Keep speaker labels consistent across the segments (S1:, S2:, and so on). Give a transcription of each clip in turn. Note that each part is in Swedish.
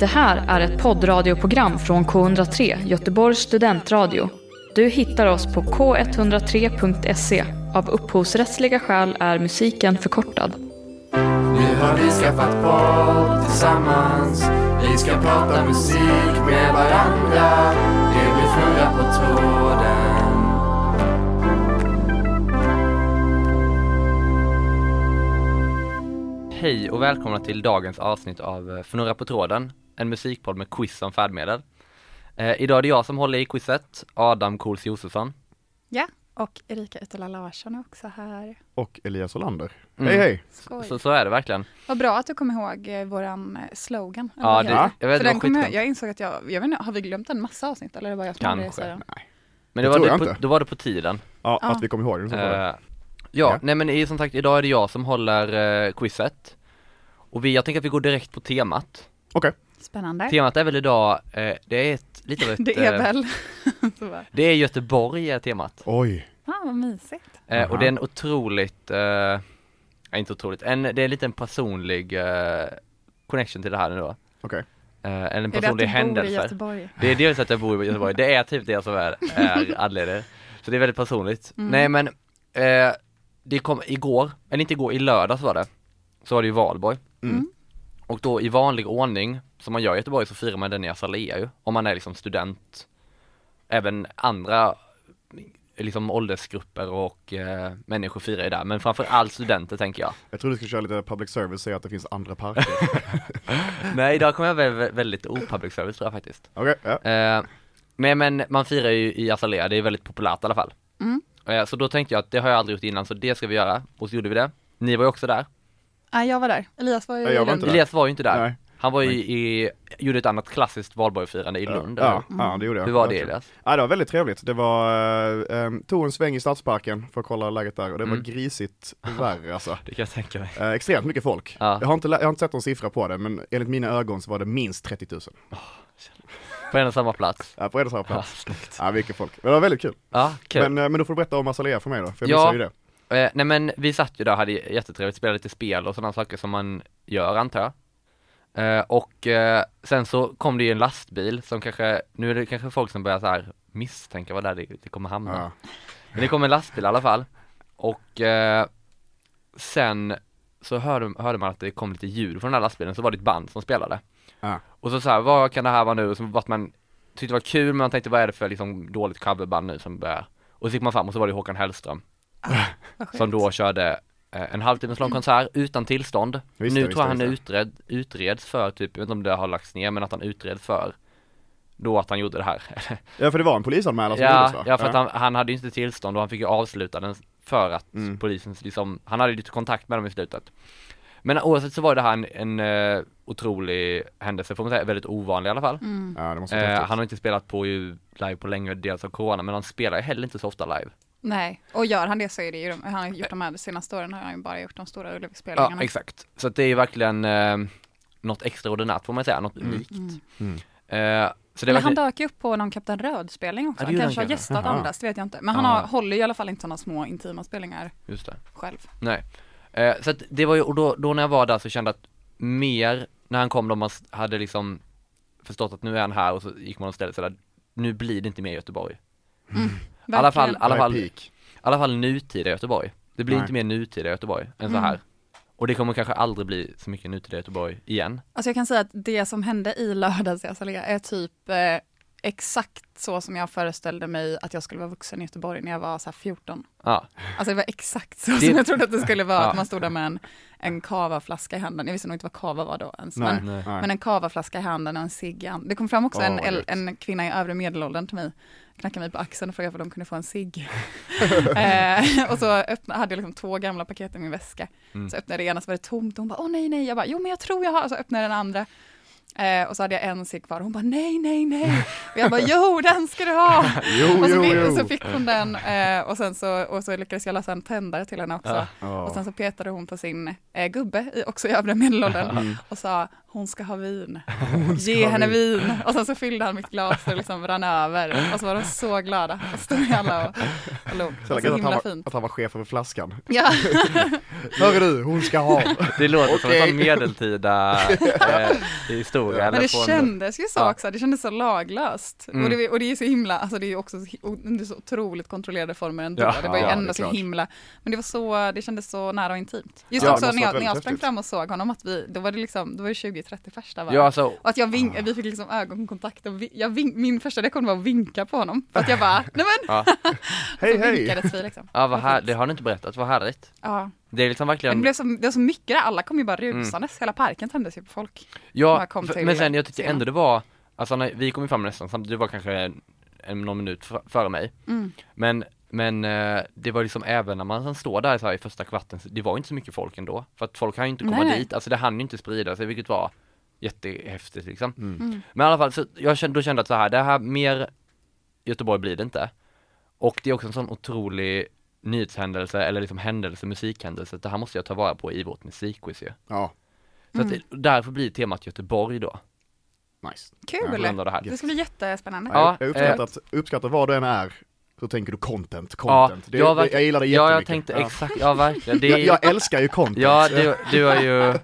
S1: Det här är ett poddradioprogram från K103, Göteborgs studentradio. Du hittar oss på k103.se. Av upphovsrättsliga skäl är musiken förkortad.
S2: Nu har vi skaffat podd tillsammans Vi ska prata musik med varandra Det blir fnurra på tråden
S3: Hej och välkomna till dagens avsnitt av eh, Fnurra på tråden, en musikpodd med quiz som färdmedel. Eh, idag är det jag som håller i quizet, Adam Kools Josefsson.
S4: Ja, och Erika Uttala Larsson är också här.
S5: och Elias Olander.
S3: Mm.
S5: Hej hej!
S4: Skoj.
S3: Så, så är det verkligen.
S4: Vad bra att du kom ihåg eh, våran eh, slogan. eller
S3: Ja,
S4: vad
S3: det,
S4: heter
S3: jag vet
S4: För
S3: det
S4: den
S3: var
S4: kom jag,
S3: skitdumt.
S4: jag insåg att jag, jag vet inte, har vi glömt en massa avsnitt eller var det jag som hade det?
S3: Kanske.
S4: säga?
S3: Men det
S5: Det tror
S3: var,
S5: jag
S3: det på,
S5: inte.
S3: då var det på tiden.
S5: Ja,
S4: Ja.
S5: att vi kom ihåg den så
S3: Eh,
S5: var det.
S3: ja,
S5: Ja.
S3: nej men i- som sagt, idag är det jag som håller eh, quizet. Och vi, jag tänker att vi går direkt på temat.
S5: Okej,
S4: Spännande.
S3: Temat är väl idag, eh, det är ett, lite av ett,
S4: Det är
S3: eh,
S4: väl. Så bara,
S3: det är Göteborg är temat.
S5: oj.
S4: ah, vad mysigt.
S3: Eh, och
S5: Aha.
S3: det är en otroligt, eh, nej, inte otroligt, en, det är en liten personlig eh, connection till det här nu då.
S5: Okej.
S3: Eh, eller en
S4: Är det att
S3: personlig
S4: du bor i
S3: händelse.
S4: Göteborg?
S3: Det är dels att jag bor i Göteborg, det är typ det som är, är anledningen. Så det är väldigt personligt. Nej men, eh, det kom igår, eller inte igår, i lördags var det, så var det ju valborg.
S5: Mm.
S3: Och då i vanlig ordning, som man gör i Göteborg så firar man den i Azalea ju, om man är liksom student. Även andra liksom åldersgrupper och eh, människor firar ju där, men framförallt studenter tänker jag.
S5: Jag tror du skulle köra lite public service och säga att det finns andra parker.
S3: Nej idag kommer jag vä- väldigt opublic service tror jag faktiskt.
S5: Okej, ja.
S3: Eh, men, men man firar ju i Azalea, det är väldigt populärt i alla fall.
S4: Mm.
S3: Eh, så då tänkte jag att det har jag aldrig gjort innan, så det ska vi göra. Och så gjorde vi det. Ni var ju också där.
S4: Ah, jag var där. Elias var ju
S5: Nej, jag
S4: i
S5: var
S4: Lund.
S5: inte där.
S3: Elias var ju inte där.
S5: Nej.
S3: Han var ju i, gjorde ett annat klassiskt valborgfirande i Lund. eller
S5: ja, ja, det gjorde jag.
S3: Hur var det
S5: Verkligen.
S3: Elias?
S5: Ja, det var väldigt trevligt. Det var, eh, em, tog en sväng i Stadsparken för att kolla läget där och det
S3: Mm.
S5: var grisigt värre alltså.
S3: Det kan jag tänka mig.
S5: Eh, extremt mycket folk.
S3: Ja.
S5: Jag, har inte, lä- jag har inte sett någon siffra på det, men enligt mina ögon så var det minst 30 000.
S3: På en och samma plats.
S5: Ja, på en och samma
S3: Ja,
S5: plats.
S3: snyggt.
S5: Ja, mycket folk. Men det var väldigt kul.
S3: Ja, kul.
S5: Men, eh, men då får du berätta om Azalea för mig då, för jag
S3: Ja.
S5: missade ju det.
S3: Eh, nej men vi satt ju där och hade jättetrevligt, spelade lite spel och sådana saker som man gör antar jag. Eh, och eh, sen så kom det ju en lastbil som kanske, nu är det kanske folk som börjar så här misstänka vad det, är det det kommer hamna.
S5: Ja.
S3: Men det kom en lastbil i alla fall. Och eh, sen så hörde, hörde man att det kom lite ljud från den här lastbilen, så var det ett band som spelade.
S5: Ja.
S3: Och så så här, vad kan det här vara nu? Och så vart man, tyckte det var kul men man tänkte vad är det för liksom dåligt coverband nu som börjar? Och så gick man fram och så var det Håkan Hellström
S4: Vad skönt.
S3: som då körde eh, en halvtimmes lång konsert utan tillstånd.
S5: Visst
S3: nu
S5: det, visst
S3: tror jag
S5: det,
S3: han är
S5: visst
S3: utred, utreds för typ, jag vet inte om det har lagts ner, men att han utreds för då att han gjorde det här.
S5: ja, för det var en polisanmälan som
S3: ja,
S5: gjordes va?
S3: ja, för att han, han hade ju inte tillstånd och han fick ju avsluta den för att
S5: Mm.
S3: polisen liksom, han hade ju lite kontakt med dem i slutet. Men oavsett så var det här en, en eh, otrolig händelse, får man säga, väldigt ovanlig i alla fall.
S4: Mm.
S5: ja, det måste vara
S3: Eh,
S5: häftigt.
S3: han har inte spelat på ju live på länge, dels av corona, men han spelar ju heller inte så ofta live.
S4: Nej, och gör han det så är det ju, han har gjort de här de senaste åren, har han ju bara gjort de stora
S3: Ja,
S4: Ullevi-spelningarna.
S3: exakt. Så att det är ju verkligen eh, något extraordinärt får man säga, något unikt.
S5: Mm.
S3: Eh, så det är
S4: Eller Mm.
S3: verkligen,
S4: han dök ju upp på någon Kapten Röd-spelning också,
S3: Ja, det
S4: han
S3: gjorde
S4: kanske
S3: han
S4: har
S3: kanske.
S4: gästat
S5: Jaha.
S4: andras, det vet jag inte. Men han
S3: Ja.
S4: har, håller ju i alla fall inte sådana små intima spelningar
S3: just det.
S4: själv.
S3: Nej. Eh, så att det var ju, och då, då när jag var där så kände jag att mer, när han kom då man s- hade liksom förstått att nu är han här och så gick man och ställde sig där, nu blir det inte mer Göteborg. I alla fall, i
S4: Verkligen.
S3: alla
S5: Vad är
S3: fall, i
S5: peak?
S3: alla fall nutida Göteborg. Det blir
S5: Nej.
S3: inte mer nutida Göteborg än så här.
S4: Mm.
S3: Och det kommer kanske aldrig bli så mycket nutida Göteborg igen.
S4: Alltså jag kan säga att det som hände i lördags i Azalea är typ eh, exakt så som jag föreställde mig att jag skulle vara vuxen i Göteborg när jag var så här 14.
S3: Ja,
S4: Alltså det var exakt så
S3: Det-
S4: som jag trodde att det skulle vara,
S3: Ja.
S4: att man stod där med en, en kavaflaska i handen. Jag visste nog inte vad kava var då ens.
S5: Nej,
S4: Men,
S3: nej.
S5: nej.
S4: men en kavaflaska i handen och en cigg i handen. Det kom fram också
S5: Åh,
S4: en,
S5: vad
S4: el-
S5: gött.
S4: en kvinna i övre medelåldern till mig, knackade mig på axeln och frågade om de kunde få en cigg. eh, och så öppna, hade jag liksom två gamla paket i min väska.
S5: Mm.
S4: Så öppnade jag det ena så var det tomt och hon bara, åh nej nej, jag bara, jo men jag tror jag har, och så öppnade jag den andra. Eh, och så hade jag en cigg kvar och hon bara nej, nej, nej. Och jag bara jo, den ska du ha.
S5: Jo,
S4: och så
S5: jo,
S4: fick,
S5: jo.
S4: Så fick hon den eh, och, sen så, och så lyckades jag lösa en tändare till henne också.
S3: Ja.
S5: Ja.
S4: Och sen så petade hon på sin eh, gubbe, i, också i övre medelåldern, och sa hon ska ha vin, ge henne vin. Och sen så fyllde han mitt glas och liksom rann över. Och så var de så glada. Och stod vi alla och, och log. Det var
S5: Så läckert
S4: så
S5: att, han
S4: himla
S5: var-
S4: fint.
S5: att han var chef över flaskan.
S4: Ja,
S5: Hörru du, hon ska ha!
S3: Det låter som en
S5: Okej.
S3: sån medeltida eh, historia.
S4: men
S3: eller
S4: det
S3: från-
S4: kändes ju så
S3: Ja.
S4: också. Det kändes så laglöst.
S3: Mm.
S4: Och, det, och det är ju så himla, alltså det är ju också så hi- o- under så otroligt kontrollerade former ändå.
S3: Ja,
S4: det var ju
S5: ja, det
S4: ändå
S5: är
S4: så
S5: klart.
S4: himla, men det var så, det kändes så nära och intimt. Just
S5: Ja, det
S4: också
S5: måste
S4: när
S5: varit
S4: jag, när jag
S5: väldigt
S4: sprang
S5: häftigt.
S4: fram och såg honom att vi, då var det liksom, då var det 20-30 pers där va?
S3: Ja, alltså,
S4: Och att jag vink, vi fick liksom ögonkontakt och vi, jag vink, min första reaktion var att vinka på honom. För att jag bara, nej men!
S3: ja,
S5: Hej
S4: så
S5: hej!
S4: vinkades vi liksom.
S3: ja vad här, det har du inte berättat, vad härligt.
S4: Ja.
S3: Det är liksom
S4: Men
S3: verkligen
S4: det, blev så, det var så mycket där, alla kom ju bara
S3: Mm.
S4: rusandes, hela parken tömdes ju på folk.
S3: Ja,
S4: Bara kom
S3: för-
S4: till
S3: men sen jag tyckte
S4: scenen.
S3: ändå det var, alltså när vi kom ju fram nästan samtidigt, du var kanske en, en, någon minut f- före mig.
S4: Mm.
S3: Men, men eh, det var liksom även när man sen står där så här i första kvarten, så det var inte så mycket folk ändå. För att folk hann ju inte komma
S4: Nej, nej.
S3: dit, alltså det hann ju inte sprida sig vilket var jättehäftigt liksom.
S4: Mm.
S3: Men i alla fall, så jag kände, då kände jag att så här, det här mer Göteborg blir det inte. Och det är också en sån otrolig nyhetshändelse eller liksom händelse, musikhändelse, att det här måste jag ta vara på i vårt musikquiz ju.
S5: Ja,
S3: Så
S4: Mm.
S3: att, det- därför blir temat Göteborg då.
S5: nice.
S3: på
S4: Kul!
S3: grund av det här.
S4: Det ska bli jättespännande.
S3: Ja, eh,
S5: Ja, jag uppskattar, att, uppskattar vad du än är, så tänker du content,
S3: Ja,
S5: content. det,
S3: jag,
S5: jag,
S3: verk-
S5: det, jag gillar det
S3: Ja, jag
S5: jättemycket.
S3: tänkte exakt, ja verkligen. Det
S5: jag,
S3: är, ja,
S5: jag älskar ju content.
S3: du, du har ju,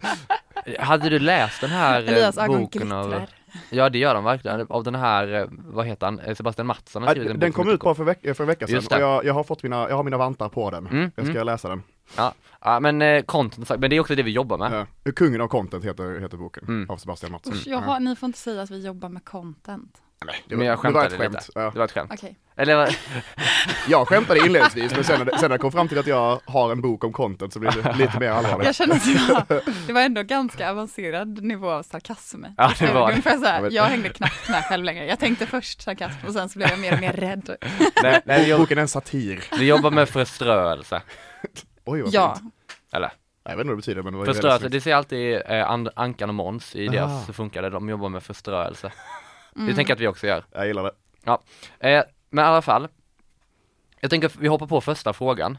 S3: hade du läst den här eh,
S4: Elias ögon
S3: boken av,
S4: glittrar.
S3: ja det gör de verkligen, av den här, eh, vad heter han, Eh, Sebastian Mattsson har
S5: Ja,
S3: skrivit en
S5: den
S3: bok
S5: kom
S3: som
S5: ut
S3: heter
S5: bara för, veck- för en vecka sedan
S3: Just
S5: och
S3: det.
S5: jag, jag, har fått mina, jag har mina vantar på den.
S3: Mm,
S5: jag ska läsa den.
S3: Ja, ja men eh, content, sagt, men det är också det vi jobbar med.
S5: Ja. Eh, Kungen av content heter, heter boken
S3: Mm.
S5: av Sebastian Mattsson.
S4: Usch, jag har, ni får inte säga att vi jobbar med content.
S5: Det
S3: men jag
S5: det var
S3: skämtade
S5: ett
S3: lite,
S5: skämt. Ja.
S3: det var ett skämt.
S4: Okej.
S3: Eller eh, vad-
S5: Jag skämtade inledningsvis men sen när, det- sen när jag kom fram till att jag har en bok om content så blir det lite mer
S4: Jag
S5: allvarligt.
S4: känner att jag, det var ändå ganska avancerad nivå av sarkasm.
S3: Ja, det var det.
S4: Ungefär så
S5: Jag
S4: här,
S5: vet.
S4: jag hängde knappt med själv längre. Jag tänkte först sarkasm och sen så blev jag mer och mer rädd.
S3: nej, nej, vi,
S5: Bo-
S3: jobb,
S5: Boken är en satir.
S3: vi jobbar med förströelse,
S5: Oj vad
S4: Ja,
S5: fint.
S3: eller
S5: Jag vet inte vad det betyder men det var ju väldigt
S3: förströelse,
S5: snyggt.
S3: det ser alltid eh, An- Ankan och Måns i
S5: Ah.
S3: deras, så funkar det, de jobbar med förströelse.
S4: Mm.
S3: Det tänker jag att vi också gör.
S5: Jag gillar det.
S3: Ja, eh, men i alla fall. Jag tänker att vi hoppar på första frågan.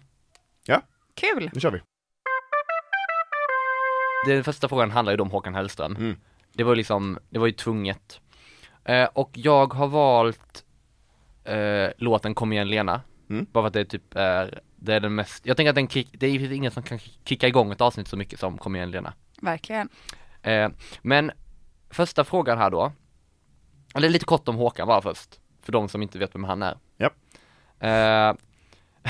S4: kul!
S5: Nu kör vi.
S3: Den första frågan handlar ju då om Håkan Hellström.
S5: Mm.
S3: Det var ju liksom, det var ju tvunget. Eh, och jag har valt eh, låten Kom igen Lena.
S5: Mm.
S3: Bara för att det typ är, det är den mest, jag tänker att den kick, det är ingen som kan kicka igång ett avsnitt så mycket som Kom igen Lena.
S4: Verkligen.
S3: Eh, men första frågan här då. Eller lite kort om Håkan bara först. För de som inte vet vem han är.
S5: Japp.
S3: Eh, I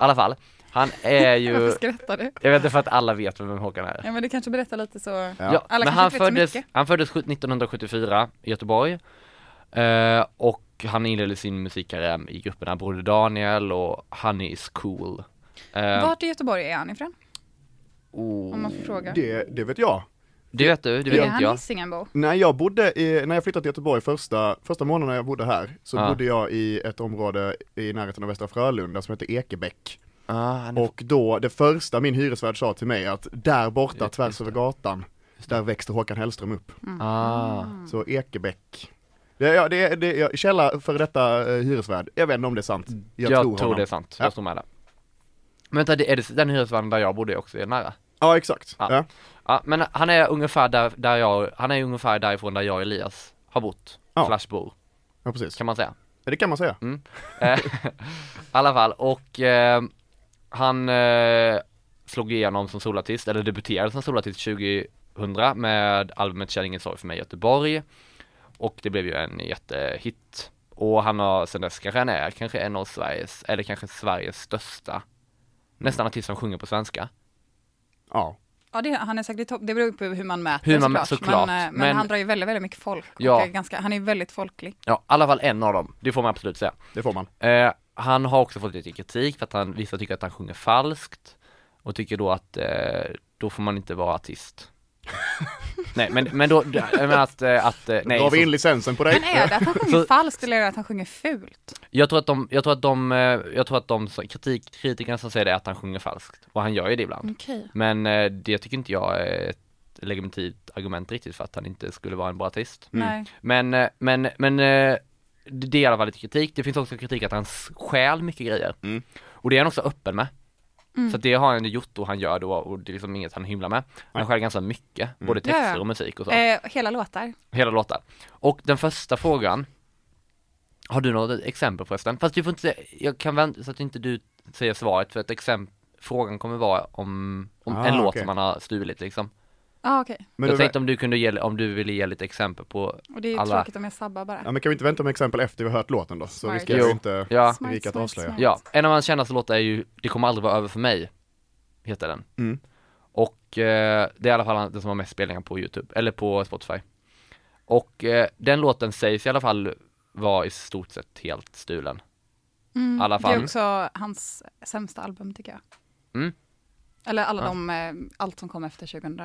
S3: alla fall, han är
S4: Varför
S3: ju,
S4: skrattar du?
S3: jag vet inte för att alla vet vem Håkan är.
S4: Ja men du kanske berättar lite så.
S5: Ja.
S4: Alla
S3: men
S4: kanske
S3: han
S4: inte vet så
S3: föddes,
S4: mycket.
S3: han föddes 1974 i Göteborg. Eh, och han inledde sin musikkarriär i grupperna Broder Daniel och Honey is cool. Eh,
S4: Vart i Göteborg är han ifrån?
S3: oh,
S4: Om man får fråga.
S5: Det, det vet jag.
S3: det vet du, det
S4: är
S3: vet inte
S4: han
S3: jag.
S4: Hisingenbo?
S5: När jag bodde i, när jag flyttade till Göteborg första, första månaden jag bodde här så
S3: Ja.
S5: bodde jag i ett område i närheten av Västra Frölunda som heter Ekebäck.
S3: Ah, han är,
S5: Och då, det första min hyresvärd sa till mig att där borta tvärs över gatan, där växte Håkan Hellström upp.
S3: ah.
S5: Så Ekebäck. Det, ja, det, det, ja, källa för detta eh, hyresvärd, jag vet inte om det är sant. Jag, tror, honom.
S3: det är sant,
S5: Ja.
S3: Mm. jag står med där. Men vänta, det- är det den hyresvärden där jag bodde också är nära?
S5: Ja exakt.
S3: Ja.
S5: Ja.
S3: Ja, men han är ungefär där, där jag, han är ungefär därifrån där jag och Elias har bott,
S5: Ja.
S3: slash bor,
S5: ja, precis.
S3: kan man säga.
S5: Ja, Det kan man säga.
S3: Eh, I alla fall, och eh, han eh, slog igenom som solartist, eller debuterade som solartist 2000 med albumet Känn ingen sorg för mig i Göteborg. Och det blev ju en jättehit. Och han har sen dess kanske han är kanske en av Sveriges, eller kanske Sveriges största, nästan artist som sjunger på svenska.
S5: Ja.
S4: Ja det, han är säkert i topp, det beror på hur man mäter
S3: Hur man mä-
S4: såklart.
S3: såklart.
S4: Men, eh, men,
S3: Men-
S4: han drar ju väldigt, väldigt mycket folk. och
S3: Ja.
S4: är ganska, han är ju väldigt folklig.
S3: Ja, i alla fall en av dem, det får man absolut säga.
S5: Det får man.
S3: Eh, han har också fått lite kritik för att han, vissa tycker att han sjunger falskt och tycker då att eh, då får man inte vara artist. nej men, men då, men att, eh, att eh,
S5: Drar
S3: nej,
S5: vi in
S3: så,
S5: licensen på
S4: Men
S5: dig?
S4: är det att han sjunger
S3: Så-
S4: falskt eller är det att han sjunger fult?
S3: jag tror att de, jag tror att de, eh, jag tror att de, som- kritik, kritikerna som säger det är att han sjunger falskt och han gör ju det ibland.
S4: Okej.
S3: Men eh, det tycker inte jag är ett legitimt argument riktigt för att han inte skulle vara en bra artist.
S4: Nej.
S3: Men, eh, men, men eh, det det är i
S5: Mm.
S3: alla fall lite kritik. Det finns också kritik att han stjäl mycket grejer. Och det är han också öppen med.
S4: Mm.
S3: Så att det har han ju gjort och han gör då och det är liksom inget han hymlar med. Han skär ganska mycket,
S5: Mm.
S3: både
S4: Ja, ja.
S3: texter och musik och så,
S4: Eh, hela låtar.
S3: hela låtar. Och den första frågan, har du något exempel förresten? Fast du får inte, jag kan vänta så att inte du säger svaret för att exempel, frågan kommer vara om, om
S5: Ah,
S3: en låt
S5: okej.
S3: som man har stulit liksom.
S4: Ja ah, okej,
S5: Men,
S3: jag
S5: då,
S3: tänkte om du kunde ge, om du ville ge lite exempel på,
S4: och det är ju
S3: Alla.
S4: tråkigt om jag sabbar bara.
S5: ja, men kan vi inte vänta med exempel efter vi har hört låten då? Så
S4: Smart.
S5: riskerar
S3: Jo.
S5: vi inte...
S3: ja,
S5: Det gick att avslöja.
S3: ja. En av hans kändaste låtar är ju Det kommer aldrig vara över för mig, heter den.
S5: Mm.
S3: Och eh, det är i alla fall den som har mest spelningar på Youtube, eller på Spotify. Och eh, den låten sägs i alla fall vara i stort sett helt stulen.
S4: Mm.
S3: alla
S4: Det
S3: fall.
S4: är också hans sämsta album tycker jag.
S3: Mm.
S4: Eller alla de, eh, allt som kom efter 2000,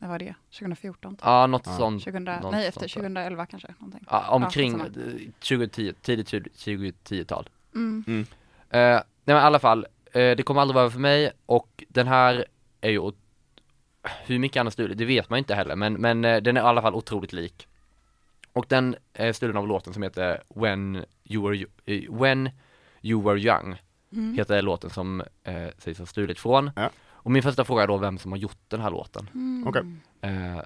S4: när var det? 2014?
S3: Ja, något sånt.
S4: 2000,
S3: Mm. något
S4: nej, efter
S3: sånt där.
S4: 2011 kanske. Någonting.
S3: Ja, omkring
S4: Ja,
S3: eh, 2010, tidigt 20- 2010-tal.
S4: Mm.
S5: Mm.
S3: Eh, nej men i alla fall, eh, det kommer aldrig vara över för mig och den här är ju, ot- hur mycket han har stulit, det vet man ju inte heller, men, men eh, den är i alla fall otroligt lik. Och den är stulen av låten som heter When You Were, Yo- eh, When you were Young, heter låten som eh, sägs ha stulit från.
S5: Ja.
S3: Och min första fråga är då vem som har gjort den här låten.
S5: Okej.
S3: Eh,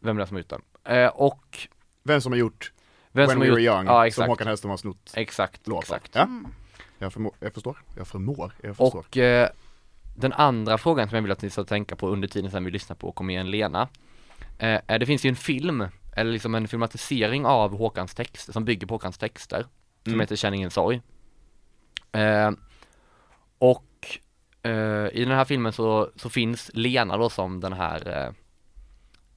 S3: vem är det som har gjort den? Eh, och
S5: Vem som har gjort
S3: vem
S5: When
S3: som
S5: We
S3: har
S5: Were
S3: gjort-
S5: Young,
S3: ja, exakt.
S5: som Håkan Hellström har snott
S3: Exakt,
S5: låt av.
S3: exakt.
S5: Ja?
S4: Mm.
S5: Jag, förmår, jag förstår, jag förmår, jag förstår.
S3: Och eh, den andra frågan som jag vill att ni ska tänka på under tiden sen vi lyssnar på Kom igen Lena. Eh, eh, det finns ju en film, eller liksom en filmatisering av Håkans texter, som bygger på Håkans texter, som
S5: Mm.
S3: heter Känn ingen sorg. Eh, och eh, i den här filmen så, så finns Lena då som den här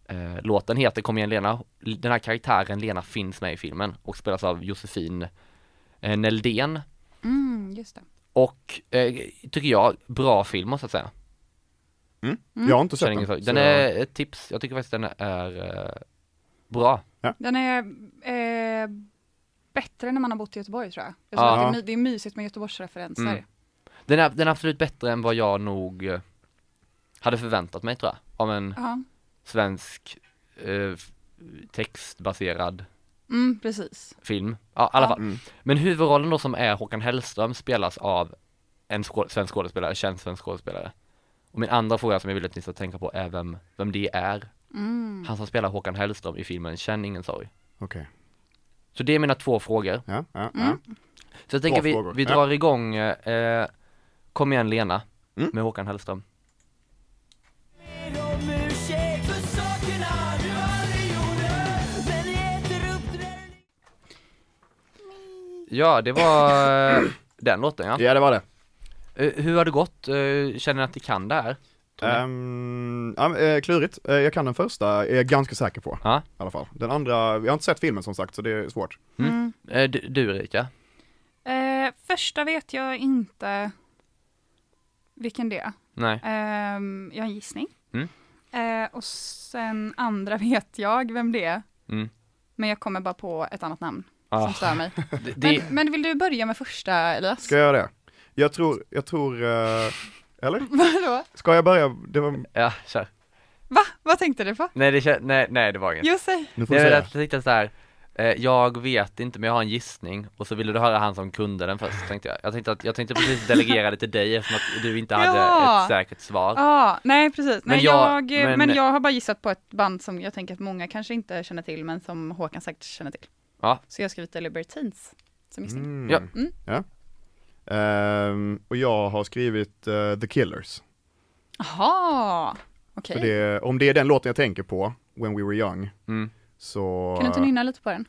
S3: eh, eh, låten heter Kom igen Lena. Den här karaktären Lena finns med i filmen och spelas av Josefin eh, Neldén.
S4: Mm, just det.
S3: Och, eh, tycker jag, bra film måste jag säga.
S5: jag har inte sett
S3: Känner
S5: den.
S3: ingen sorg.
S5: så
S3: Den
S5: jag-
S3: är ett tips, jag tycker faktiskt den är eh, bra.
S4: Den är eh, bättre när man har bott i Göteborg tror jag. jag tror
S3: Ja.
S4: att det, är my- det är mysigt med Göteborgsreferenser.
S3: Mm. Den är, den är absolut bättre än vad jag nog eh, hade förväntat mig tror jag, av en
S4: Ja,
S3: svensk eh, f- textbaserad
S4: mm, precis.
S3: film. Ja, i alla
S4: Ja. Mm.
S3: fall. Men huvudrollen då som är Håkan Hellström spelas av en skå- svensk skådespelare, känd svensk skådespelare. Och min andra fråga som jag vill att ni ska tänka på är vem, vem det är.
S4: Mm.
S3: Han som spelar Håkan Hellström i filmen Känn ingen sorg.
S5: Okej,
S3: Så det är mina två frågor.
S5: ja, ja, ja.
S4: Mm.
S3: Så jag tänker
S5: Bra
S3: vi,
S5: frågor.
S3: vi
S5: Ja.
S3: drar igång eh, Kom igen Lena
S5: Mm.
S3: med Håkan Hellström. Ja, det var eh, den låten ja.
S5: Ja det var det.
S3: Eh, hur har det gått? Eh, känner ni att ni kan det här? Tror ni?
S5: Ehm, ja, men, eh, klurigt, Eh, jag kan den första, är jag ganska säker på.
S3: Ja.
S5: I alla fall. Den andra, jag har inte sett filmen som sagt så det är svårt.
S4: Mm.
S3: Eh, du, du Erika?
S4: Eh, första vet jag inte vilken det är.
S3: Nej.
S4: Ehm, jag har en gissning.
S3: Mm.
S4: Eh, och sen andra vet jag vem det är.
S3: Mm.
S4: Men jag kommer bara på ett annat namn
S3: Ah,
S4: som stör mig.
S3: det, det,
S4: Men, men vill du börja med första Elias?
S5: Ska jag göra det? Jag tror, jag tror, eh, eller?
S4: Vadå?
S5: Ska jag börja? Det var,
S3: ja, kör.
S4: Va? Vad tänkte du på?
S3: Nej, det, kän- nej, nej det var inget.
S4: Jo, säg.
S5: nu får
S3: Nej
S5: du
S3: men
S5: säga.
S3: jag tänkte såhär, eh, jag vet inte men jag har en gissning och så ville du höra han som kunde den först tänkte jag. Jag tänkte, att, jag tänkte precis delegera det till dig eftersom att du inte hade
S4: Ja.
S3: ett säkert svar.
S4: Ja, nej precis.
S3: Men
S4: Nej,
S3: jag-
S4: jag, eh,
S3: men-
S4: men... jag har bara gissat på ett band som jag tänker att många kanske inte känner till, men som Håkan säkert känner till.
S3: Ja.
S4: Så jag har skrivit The Libertines som gissning.
S5: Mm.
S3: Ja.
S4: Mm.
S5: Ja. Ehm, och jag har skrivit eh, The Killers.
S4: Jaha, okej.
S5: För det, om det är den låten jag tänker på, When We Were Young,
S3: Mm.
S5: så... eh,
S4: Kan du inte nynna lite på den?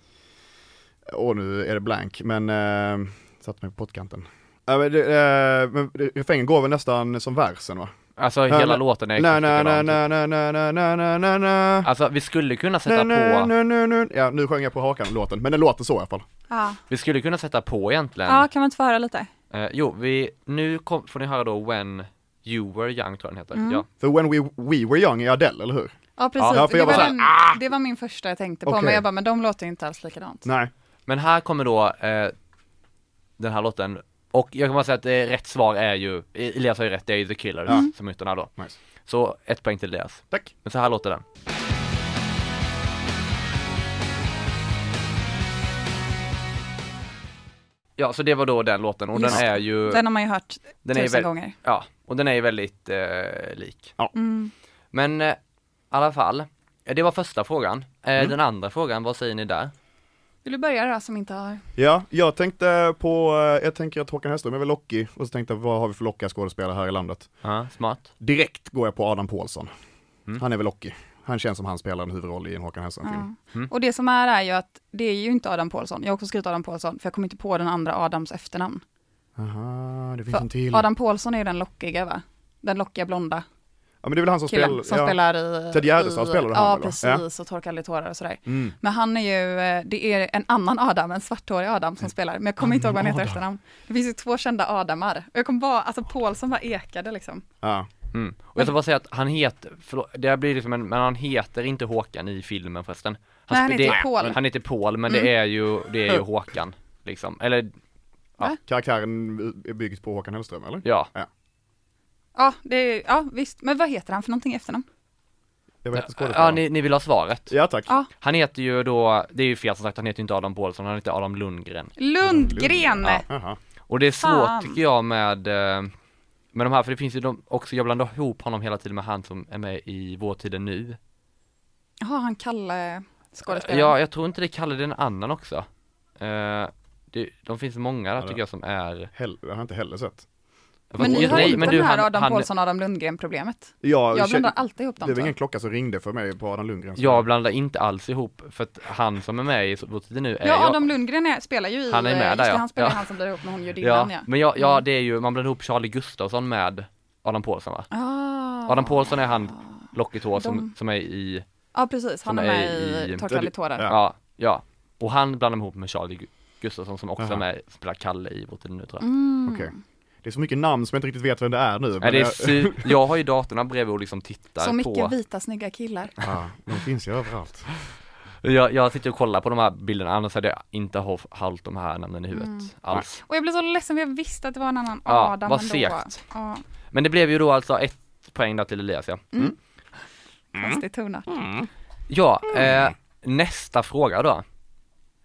S5: Åh, nu är det blank, men uh, satt mig på pottkanten. Ja, men, det, eh, men refrängen går väl nästan som versen va?
S3: Alltså
S5: Nej,
S3: hela
S5: nej.
S3: låten är
S5: Na
S3: exakt
S5: na na
S3: likadan.
S5: na na na na na na na na
S3: Alltså vi skulle kunna
S5: na
S3: sätta
S5: na
S3: på,
S5: na na na Ja, nu sjöng jag på hakan låten, men den låter så i alla fall.
S4: Ja,
S3: vi skulle kunna sätta på egentligen.
S4: ja kan man inte få höra lite?
S3: Eh, jo, vi, nu kom, får ni höra då When You Were Young tror jag den heter.
S4: Mm.
S3: Ja.
S5: För When We, we Were Young är Adele, eller hur?
S4: Ja, precis.
S5: Ja, för
S4: det,
S5: jag
S4: var
S5: var så här,
S4: den, det var min första jag tänkte på,
S5: Okej.
S4: men jag bara, men de låter ju inte alls likadant.
S5: Nej.
S3: Men här kommer då eh, den här låten och jag kan bara säga att eh, rätt svar är ju, Elias har ju rätt, det är ju The Killers
S4: Mm.
S3: som är ut den här då.
S5: Nice.
S3: Så ett poäng till Elias.
S5: Tack.
S3: Men så här låter den. Ja, så det var då den låten och den
S4: Just det.
S3: är ju,
S4: Den har man ju hört
S3: den är ju
S4: tusen
S3: väl,
S4: gånger.
S3: ja, och den är ju väldigt eh, lik.
S4: Mm.
S3: Men eh, i alla fall, eh, det var första frågan. Eh,
S4: Mm.
S3: Den andra frågan, vad säger ni där?
S4: Vill du börja då som inte har?
S5: Ja, jag tänkte på, eh, jag tänker att Håkan Hellström är väl lockig och så tänkte jag vad har vi för lockiga skådespelare här i landet?
S3: Ja, smart.
S5: Direkt går jag på Adam Pålsson.
S3: Mm.
S5: Han är väl lockig. Han känns som han spelar en huvudroll i en Håkan Hellström-film.
S4: Ja. Och det som är är ju att det är ju inte Adam Pålsson. Jag har också skrivit Adam Pålsson för jag kommer inte på den andra Adams efternamn.
S5: Aha, det finns en till.
S4: För Adam Pålsson är ju den lockiga va? Den lockiga blonda
S5: Ja men det är väl han som,
S4: killen
S5: spel,
S4: som
S5: ja.
S4: spelar i...
S5: Ted Gärdestad
S4: i-
S5: spelade han
S4: Ja,
S5: väl, va?
S4: precis. Och Torka aldrig tårar och sådär.
S5: Mm.
S4: Men han är ju, eh, det är en annan Adam, en svarthårig Adam som spelar. Men jag kommer inte ihåg vad han heter
S5: Adam.
S4: efternamn. Det finns ju två kända Adamar. Och jag kommer bara, alltså Pålsson bara ekade liksom.
S5: Ja.
S3: Mm. Och jag ska bara säga att han heter, förlåt, det här blir liksom en, men han heter inte Håkan i filmen förresten.
S4: Nej, han
S3: sp-
S4: heter
S3: det,
S4: Paul. Mm.
S3: Han heter Paul, men det är ju, det är ju Håkan. Liksom, eller
S5: Karaktären är byggd på Håkan Hellström eller?
S3: ja.
S4: Ja, det är, ja visst. Men vad heter han för någonting i efternamn?
S5: Jag vet inte
S3: Ja,
S5: skådespelaren.
S3: ni, ni vill ha svaret?
S5: Ja tack.
S4: Ja.
S3: Han heter ju då, det är ju fel som sagt, han heter ju inte Adam Pålsson, han heter Adam Lundgren.
S4: Lundgren!
S3: Ja.
S5: Aha.
S3: Och det är svårt
S4: Fan.
S3: tycker jag med, eh, med de här, för det finns ju de också, jag blandar ihop honom hela tiden med han som är med i Vår tiden nu.
S4: Jaha, han Kalle skådespelaren.
S3: Ja, jag tror inte det kallar det en annan också. Eh, det, de finns många där
S5: det-
S3: tycker jag som är
S5: Hell, jag har inte heller sett.
S4: men ni
S3: Fast-
S4: har
S3: nej,
S4: inte
S3: men
S4: den
S3: du,
S4: här
S3: han-
S4: Adam
S3: han-
S4: Pålsson, Adam Lundgren problemet.
S5: Ja,
S4: Jag
S5: kä-
S4: blandar alltid ihop
S5: Det
S4: dem
S5: var ingen
S4: två.
S5: klocka som ringde för mig på Adam Lundgren.
S3: Jag blandar inte alls ihop, för att han som är med i Vår tid är nu är
S4: Ja,
S3: jag,
S4: Adam Lundgren är, spelar ju i,
S3: Eh, Han är med
S4: eh, just
S3: där,
S4: det,
S3: ja.
S4: han spelar
S3: Ja.
S4: han som blir ihop med hon judinnan ja. Mm.
S3: ja, men jag, ja, det är ju, man blandar ihop Charlie Gustafsson med Adam Pålsson va?
S4: Ah.
S3: Adam Pålsson är han, lockigt hår, som,
S4: De-
S3: som är i
S4: Ja, precis. Han
S3: som
S4: är
S3: är
S4: med
S3: i-
S4: i Torka aldrig tårar.
S5: Ja.
S3: Ja, ja. Och han blandar ihop med Charlie Gu- Gustafsson som också
S5: Aha.
S3: är med, spelar Kalle i vårt nu tror jag.
S4: Mm.
S5: Okej. Det är så mycket namn som jag inte riktigt vet vem det är nu. men
S3: Nej, det är
S5: jag-
S3: sy- jag har ju datorn bredvid och liksom tittar
S4: Så mycket
S3: på.
S4: vita snygga killar.
S5: Ja, de finns ju överallt.
S3: Jag, jag sitter och kollar på de här bilderna, annars hade jag inte haft, haft de här namnen i huvudet
S4: Mm.
S3: alls.
S4: Och jag blev så ledsen för jag visste att det var en annan
S3: Ja,
S4: Adam
S3: vad
S4: ändå.
S3: segt.
S4: Ja,
S3: Men det blev ju då alltså ett poäng där till Elias ja. Mm.
S4: konstigt tonat.
S3: Ja,
S5: Mm.
S3: eh, nästa fråga då.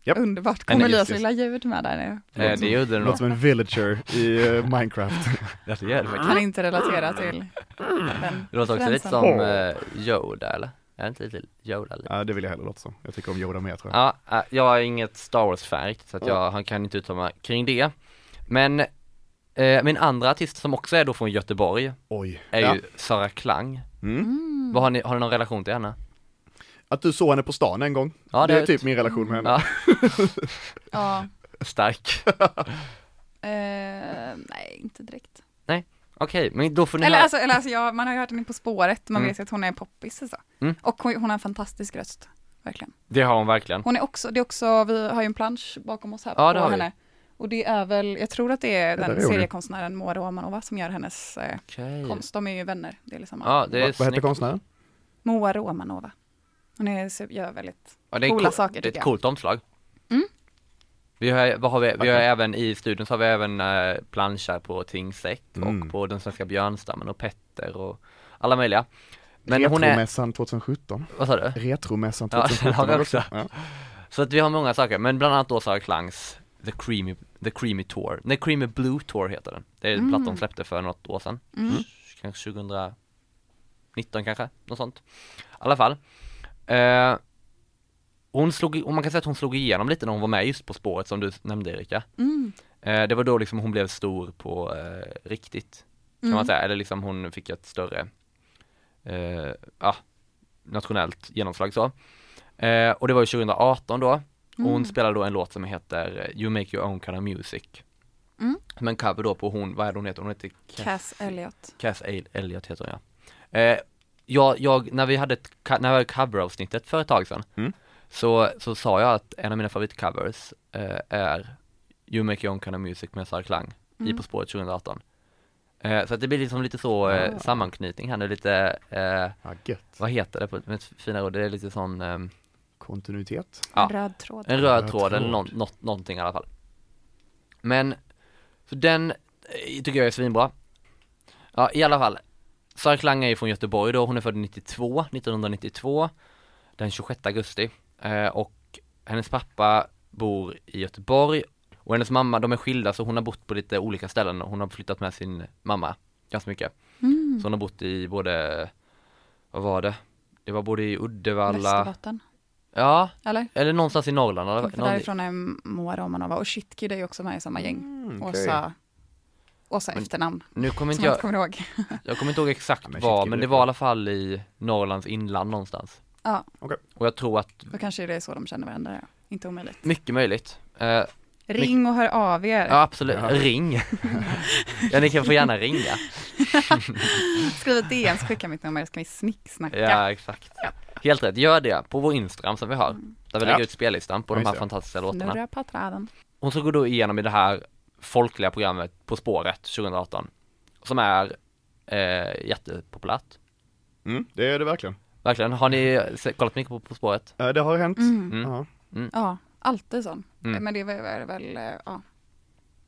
S5: Japp.
S4: Underbart.
S3: Men
S4: Kom
S3: just
S4: Elias
S3: det.
S4: lilla ljud med där nu.
S3: Eh, det gjorde den då.
S5: Låter som en villager i eh, Minecraft.
S3: Det gör det faktiskt.
S4: Kan inte relatera till den
S3: Det låter också lite
S4: referensen.
S3: som eh, Yoda eller? Är det inte lite Yoda? Lite?
S5: Ja, det vill jag hellre låta som. Jag tycker om Yoda mer tror jag.
S3: Ja, eh, jag är inget Star Wars-fan riktigt, så att jag han kan inte uttala mig kring det. Men eh, min andra artist som också är då från Göteborg
S5: Oj.
S3: är
S5: Ja.
S3: ju Sara Klang.
S5: Mm.
S3: Vad har, ni, har ni någon relation till henne?
S5: Att du såg henne på stan en gång.
S3: Ja,
S5: det,
S3: det
S5: är
S3: är-
S5: typ min relation med henne.
S3: Ja,
S4: Ja.
S3: stark.
S4: Eh, nej, inte direkt.
S3: Okej, men då får ni
S4: Eller
S3: höra-
S4: alltså, eller alltså jag, man har ju hört henne På spåret, man
S3: Mm.
S4: vet ju att hon är poppis och så.
S3: Mm.
S4: Och hon, hon har en fantastisk röst, verkligen.
S3: Det har hon verkligen.
S4: Hon är också, det är också, vi har ju en plansch bakom oss här
S3: Ja, det
S4: på
S3: har vi.
S4: henne. Och det är väl, jag tror att det är
S5: där
S4: den
S5: är hon ju.
S4: seriekonstnären Moa Romanova som gör hennes eh,
S3: Okej.
S4: konst. De är ju vänner, det är liksom
S3: Ja, det är
S5: Vad, vad heter
S3: snyggt.
S5: konstnären?
S4: Moa Romanova. Hon är, så- gör väldigt,
S3: Ja, det är en
S4: Coola
S3: cool-
S4: saker,
S3: Det är
S4: tycker
S3: ett
S4: jag. Mm.
S3: coolt omslag. Vi har, vad har vi, vi har
S5: Verkligen.
S3: även i studion så har vi även eh, planscher på Tingsrätt
S5: Mm.
S3: och på Den svenska björnstammen och Petter och alla möjliga. Men hon är,
S5: Retromässan 2017.
S3: vad sa du?
S5: Retromässan
S3: Ja,
S5: 2017.
S3: den har vi också.
S5: Ja.
S3: Så att vi har många saker, men bland annat då Sara Klangs The Creamy, The Creamy Tour, The Creamy Blue Tour heter den. Det är en platta de släppte för något år sedan, Mm. kanske 2019 kanske, något sånt. I alla fall. Eh, hon slog, och man kan säga att hon slog igenom lite när hon var med just På spåret som du nämnde Erika. Eh, det var då liksom hon blev stor på eh, riktigt, kan man säga, eller liksom hon fick ett större, eh, ja, nationellt genomslag så. Eh, och det var ju 2018 då. Och hon spelade då en låt som heter eh, You Make Your Own Kind of Music.
S4: Mm.
S3: Som en cover då på hon, vad är det hon heter? Hon heter Cass,
S4: Cass Elliot.
S3: Cass El- Elliot heter hon ja. Eh, jag, jag, när vi hade ett, co- när vi hade coveravsnittet för ett tag sedan.
S5: Mm.
S3: Så, så sa jag att en av mina favoritcovers eh, är You Make Your Own Kind of Music med Sara Klang i På spåret 2018. Eh, så att det blir liksom lite så eh, sammanknytning här nu, lite, eh,
S5: Ja, gött.
S3: vad heter det på med ett fina ord, det är lite sån ehm,
S5: Kontinuitet.
S3: Ja.
S4: En röd tråd.
S3: en röd
S5: Röd
S3: tråd eller
S5: tråd.
S3: någon, något, någonting i alla fall. Men, så den eh, tycker jag är svinbra. Ja, i alla fall. Sara Klang är ju från Göteborg då, hon är född 92, 1992, den 26 augusti. Eh, och hennes pappa bor i Göteborg Och hennes mamma, de är skilda så hon har bott på lite olika ställen och hon har flyttat med sin mamma ganska mycket.
S4: Mm.
S3: Så hon har bott i både, vad var det? Det var både i Uddevalla,
S4: Västerbotten,
S3: ja,
S4: eller?
S3: eller någonstans i Norrland. eller-
S4: För därifrån är Moa Romanova och Shitkid är ju också med i samma gäng. Åsa, Åsa
S3: Mm, Men-
S4: efternamn,
S3: Nu kommer
S4: som
S3: inte
S4: jag
S3: jag,
S4: inte kommer ihåg.
S3: jag kommer inte ihåg exakt
S5: Ja, men
S3: var,
S5: shit,
S3: men
S5: kul.
S3: det var i alla fall i Norrlands inland någonstans.
S4: Ja,
S3: Och jag tror att,
S4: då kanske det är så de känner varandra. ja. Inte omöjligt.
S3: mycket möjligt. Eh,
S4: Ring och hör av er.
S3: ja absolut,
S5: Ja.
S3: ring! ja ni kan få gärna ringa.
S4: Skriv ett DM så skicka mitt nummer så kan vi snicksnacka.
S3: Ja, exakt. Helt rätt, gör det på vår Instagram som vi har. Där vi
S5: Ja.
S3: lägger ut spellistan på
S5: Ja,
S3: de
S5: just
S3: här
S5: det.
S3: fantastiska låtarna.
S4: Snurra på träden.
S3: Hon ska gå då igenom i det här folkliga programmet På spåret 2018 Som är eh, jättepopulärt
S5: Mm, det är det verkligen.
S3: Verkligen, har ni se- kollat mycket på På spåret?
S5: Eh, Det har hänt.
S4: Mm.
S5: Ja.
S4: Ja, alltid sån.
S3: Mm.
S4: Men det är väl, är väl, eh, ja,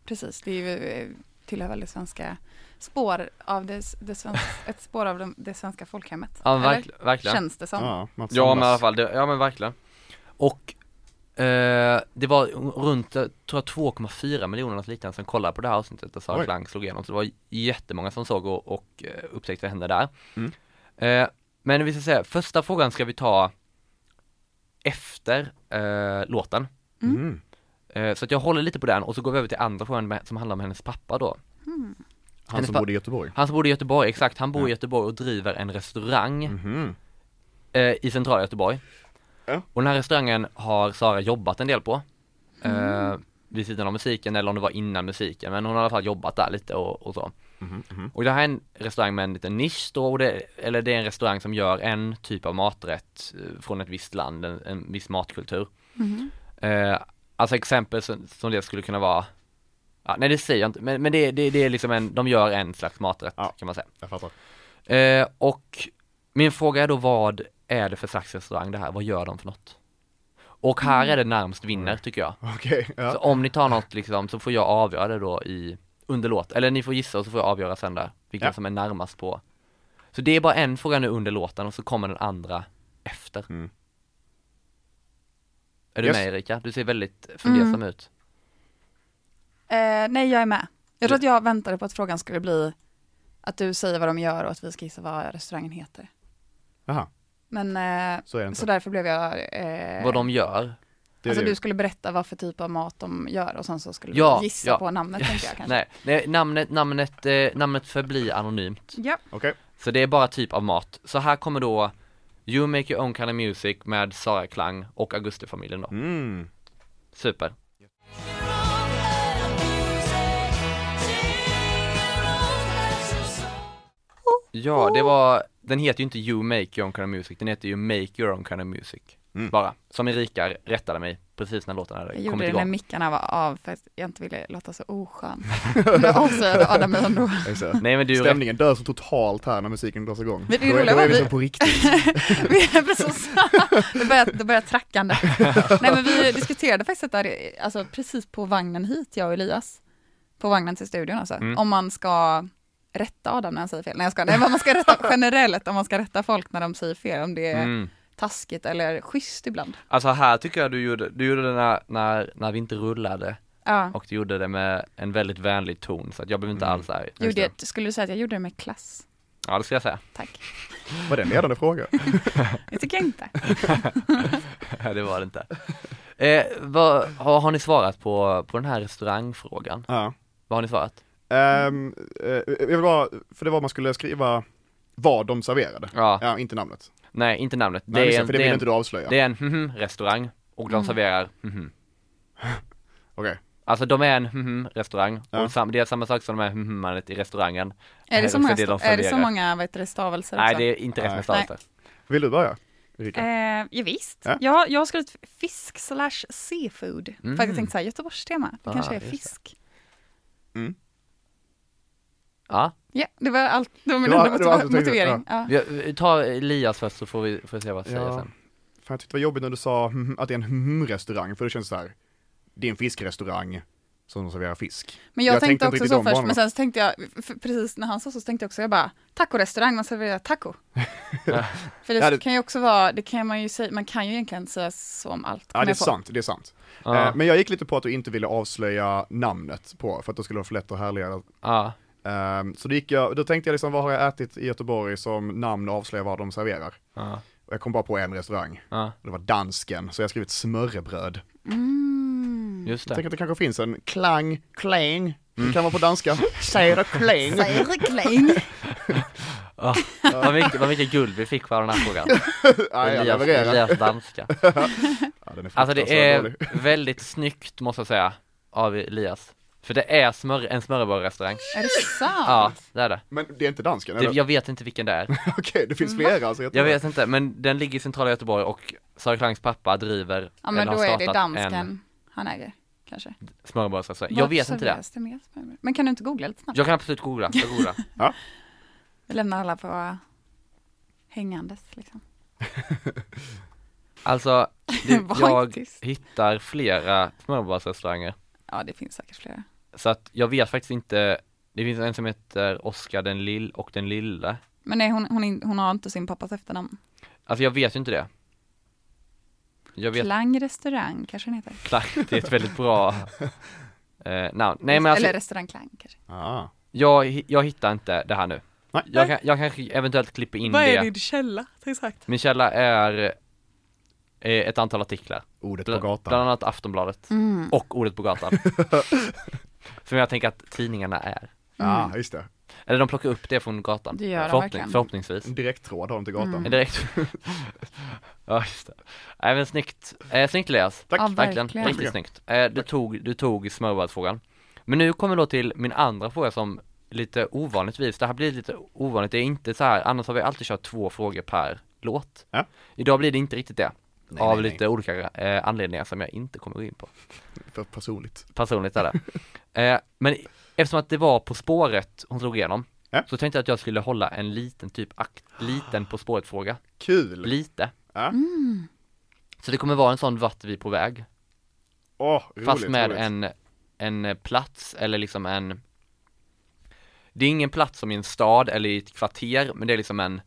S4: precis. Det är ju, eh, tillhör väl det svenska spår av det, det svenska, ett spår av det, det svenska folkhemmet.
S3: Ja
S4: Eller?
S3: verk, verkligen
S4: Känns det som.
S5: Ja, man får
S3: Ja men i alla
S5: samlas.
S3: fall, det, ja men verkligen Och eh, det var runt, eh, tror jag 2,4 miljoner något liknande som kollade på det här avsnittet och Sara
S5: Oj.
S3: Klang slog igenom Så det var jättemånga som såg och, och eh, upptäckte henne där
S5: Mm.
S3: eh, Men vi ska säga, första frågan ska vi ta efter eh, låten
S5: Mm.
S3: Eh, Så att jag håller lite på den och så går vi över till andra frågan med, som handlar om hennes pappa då.
S5: Han
S3: Hennes
S5: som
S3: pa-
S5: bodde i Göteborg.
S3: Han som bor i Göteborg, exakt, han bor
S5: Ja.
S3: i Göteborg och driver en restaurang
S5: Mhm.
S3: eh, i centrala Göteborg.
S5: Ja.
S3: Och den här restaurangen har Sara jobbat en del på. Eh,
S5: Mm.
S3: vid sidan av musiken eller om det var innan musiken, men hon har i alla fall jobbat där lite och, och så.
S5: Mhm, mhm.
S3: Och det här är en restaurang med en liten nisch då, och det, eller det är en restaurang som gör en typ av maträtt eh, från ett visst land, en, en viss matkultur. Eh, alltså exempel som, som det skulle kunna vara, ja, nej det säger jag inte, men, men det, det, det är liksom en, de gör en slags maträtt
S5: Ja.
S3: kan man säga.
S5: Jag fattar.
S3: Eh, och min fråga är då vad är det för slags restaurang det här, vad gör de för något? Och här är det närmst vinner tycker jag.
S5: Okej,
S3: Så
S5: ja.
S3: om ni tar något liksom så får jag avgöra det då i under låt, eller ni får gissa och så får jag avgöra sen där vilken
S5: Ja.
S3: som är närmast på. Så det är bara en fråga nu under låten och så kommer den andra efter.
S5: Mm.
S3: Är du
S5: Yes.
S3: med Erika? Du ser väldigt fundersam ut.
S4: Eh, nej, jag är med. Jag tror att jag väntade på att frågan skulle bli att du säger vad de gör och att vi ska gissa vad restaurangen heter.
S5: Jaha,
S4: Men eh,
S5: så är det inte.
S3: Alltså,
S4: så därför blev jag... Eh,
S3: Vad de gör.
S5: det är
S4: alltså
S5: det.
S4: du skulle berätta vad för typ av mat de gör och sen så skulle
S3: Ja,
S4: du gissa
S3: ja.
S4: på namnet tänkte jag kanske.
S3: Nej, nej namnet, namnet, eh, namnet förblir anonymt.
S4: Ja.
S5: Okej,
S3: Så det är bara typ av mat. Så här kommer då You Make Your Own Kind of Music med Sara Klang och Augustifamiljen då.
S5: mm.
S3: Super. Ja, det var, den heter ju inte You Make Your Own Kind of Music, den heter ju Make Your Own Kind of Music.
S5: Mm.
S3: Bara, som Erika rättade mig precis när låten hade
S4: Jag gjorde
S3: kommit
S4: det när
S3: igång.
S4: mickarna var av för att jag inte ville låta så oskön. Men Jag avslöjade Adam mig ändå.
S5: jag ser.
S3: Nej men du,
S5: Stämningen dör så totalt här när musiken dras igång.
S4: Men det
S5: då, är-
S4: roliga
S5: då
S4: var
S5: är det
S4: vi-
S5: som på riktigt.
S4: Vi är precis- det börjar, det börjar trackande. Nej men vi diskuterade faktiskt det här, alltså precis på vagnen hit, jag och Elias. På vagnen till studion alltså.
S3: Mm.
S4: Om man ska rätta Adam när han säger fel. Nej jag ska, nej men man ska rätta generellt om man ska rätta folk när de säger fel. Om det är
S3: Mm.
S4: taskigt eller schysst ibland.
S3: alltså här tycker jag du gjorde, du gjorde det när, när, när vi inte rullade
S4: Ja.
S3: och du gjorde det med en väldigt vänlig ton så att jag blev
S5: Mm.
S3: inte alls arg.
S4: Gjorde jag, skulle du säga att jag gjorde det med klass?
S3: Ja det ska jag säga.
S4: Tack.
S5: Var det en ledande fråga?
S4: Det tycker jag inte.
S3: Nej, det var det inte. Eh, vad, har, har ni svarat på, på den här restaurangfrågan?
S5: Ja.
S3: Vad har ni svarat?
S5: Ehm, eh, jag vill bara, för det var man skulle skriva vad de serverade.
S3: Ja.
S5: Ja, inte namnet.
S3: Nej, inte namnet.
S5: Nej, det
S3: det, är
S5: för
S3: en,
S5: det
S3: det,
S5: vill
S3: är
S5: inte
S3: en,
S5: du Mm. avslöja.
S3: det är en mhm restaurang och de serverar mhm.
S5: Okej.
S3: Alltså de är en mhm restaurang
S5: Ja.
S3: och sam, det är samma sak som de är mhm manet i restaurangen.
S4: Är det så många,
S3: Det är de
S4: är det så
S3: serverar.
S4: många vad heter det, stavelser
S3: Nej,
S4: också?
S3: det är inte rätt
S5: Nej.
S3: med stavelser.
S5: Vill du börja? Erika?
S4: Eh, ja, visst.
S5: Ja.
S4: Ja, jag har skrivit fisk slash seafood. För att jag tänkte så här, Göteborgstema, det
S3: Mm. Ah,
S4: kanske är
S3: just det.
S4: fisk.
S3: Ja,
S4: Ja, det var allt, det var min
S5: Det var-
S4: enda
S5: det var allt
S4: motiva-
S5: du tänkte,
S4: motivering. Ja.
S3: vi, vi tar Elias först så får vi, får vi se vad jag säger
S5: Ja. Eh,
S3: sen.
S5: Fan, jag tyckte det var jobbigt när du sa mm, att det är en mm, restaurang för det känns så här. Det är en fiskrestaurang. som de serverar fisk.
S4: Men jag,
S5: Jag
S4: tänkte,
S5: tänkte inte
S4: också
S5: riktigt
S4: så
S5: om
S4: först,
S5: banorna.
S4: men sen så tänkte jag, för precis när han sa så, så tänkte jag också, jag bara, tacorestaurang, man serverar taco. för det,
S5: Ja, det-
S4: kan ju också vara, det kan man ju säga, man kan ju egentligen säga så om allt.
S5: Ja
S4: kom
S5: det är
S4: jag på.
S5: sant, det är sant.
S3: Ja.
S5: Eh, Men jag gick lite på att du inte ville avslöja namnet på, för att det skulle vara för lätt att härleda.
S3: Ja.
S5: Ehm, Så då gick jag, då tänkte jag liksom vad har jag ätit i Göteborg som namn avslöjar vad de serverar?
S3: Ja.
S5: Och jag kom bara på en restaurang,
S3: Ja.
S5: det var dansken, så jag har skrivit smörrebröd.
S4: Mm.
S3: Just
S5: Jag
S3: det.
S5: tänker att det kanske finns en klang, klang,
S3: Mm.
S5: det kan vara på danska, säger klang.
S4: Säger kläng.
S3: Ja. Vad, mycket, vad mycket guld vi fick på den här frågan.
S5: Ja, jag
S3: Elias,
S5: levererar.
S3: Elias danska.
S5: Ja, den är
S3: Alltså
S5: fruktansvärt
S3: det är
S5: dålig.
S3: väldigt snyggt måste jag säga av Elias. För det är smör, en smörrebrödrestaurang.
S4: Är det sant?
S3: Ja, det är det.
S5: Men det är inte dansken
S3: det.
S5: eller?
S3: Jag vet inte vilken det är.
S5: Okej, det finns flera alltså.
S3: Jag vet inte, men den ligger i centrala Göteborg och Sara Klangs pappa driver,
S4: Ja men
S3: eller
S4: då
S3: har
S4: är det
S3: startat
S4: dansken
S3: en
S4: han äger, kanske.
S3: smörrebrödsrestaurang. Jag
S4: Vart
S3: vet inte det.
S4: serveras det mer smörrebröd? Men kan du inte googla lite snabbt?
S3: Jag kan absolut googla, jag googlar.
S4: Vi lämnar alla på hängandes liksom.
S3: Alltså, det,
S4: Var
S3: jag
S4: tyst.
S3: hittar flera smörrebrödsrestauranger.
S4: Ja det finns säkert flera.
S3: Så att jag vet faktiskt inte, det finns en som heter Oskar den lill och den lille.
S4: Men nej, hon, hon, in- hon har inte sin pappas efternamn.
S3: Alltså jag vet ju inte det. Jag vet
S4: Klang restaurang kanske den heter.
S3: Klack, det är ett väldigt bra eh, namn. Nej men alltså,
S4: Eller restaurang Klang kanske.
S5: Ah.
S3: jag, hi- jag hittar inte det här nu.
S5: Nej.
S3: Jag, kan, jag kanske eventuellt klipper in det.
S4: källa? Exakt.
S3: Min källa är eh, ett antal artiklar.
S5: Ordet på
S3: Bla-
S5: gatan.
S3: Bland annat Aftonbladet
S4: Mm.
S3: och Ordet på gatan. Som jag tänker att tidningarna är.
S5: Ja, just det.
S3: Eller de plockar upp det från gatan.
S4: Det gör de verkligen.
S3: förhoppningsvis.
S5: En direkttråd har de till gatan.
S4: Mm.
S3: Eh, Direkt. ja, just det. Nej men snyggt. Eh, snyggt Elias.
S5: Tack.
S4: Ja,
S3: Verkligen,
S4: verkligen.
S3: riktigt snyggt. Eh, du, tog, du tog smörbrödsfrågan. Men nu kommer då till min andra fråga som lite ovanligtvis, det här blir lite ovanligt, det är inte så här, annars har vi alltid kört två frågor per låt.
S5: Ja.
S3: Idag blir det inte riktigt det,
S5: Nej,
S3: av
S5: nej, nej.
S3: lite olika eh, anledningar som jag inte kommer gå in på.
S5: För personligt.
S3: Personligt är det. eh, men eftersom att det var På spåret hon slog igenom,
S5: Ja.
S3: så tänkte jag att jag skulle hålla en liten typ akt, liten På spåret-fråga.
S5: Kul!
S3: Lite.
S5: Ja.
S3: Så det kommer vara en sån vart är vi på väg.
S5: Åh, roligt,
S3: Fast med
S5: roligt.
S3: en, en plats eller liksom en Det är ingen plats som i en stad eller i ett kvarter men det är liksom en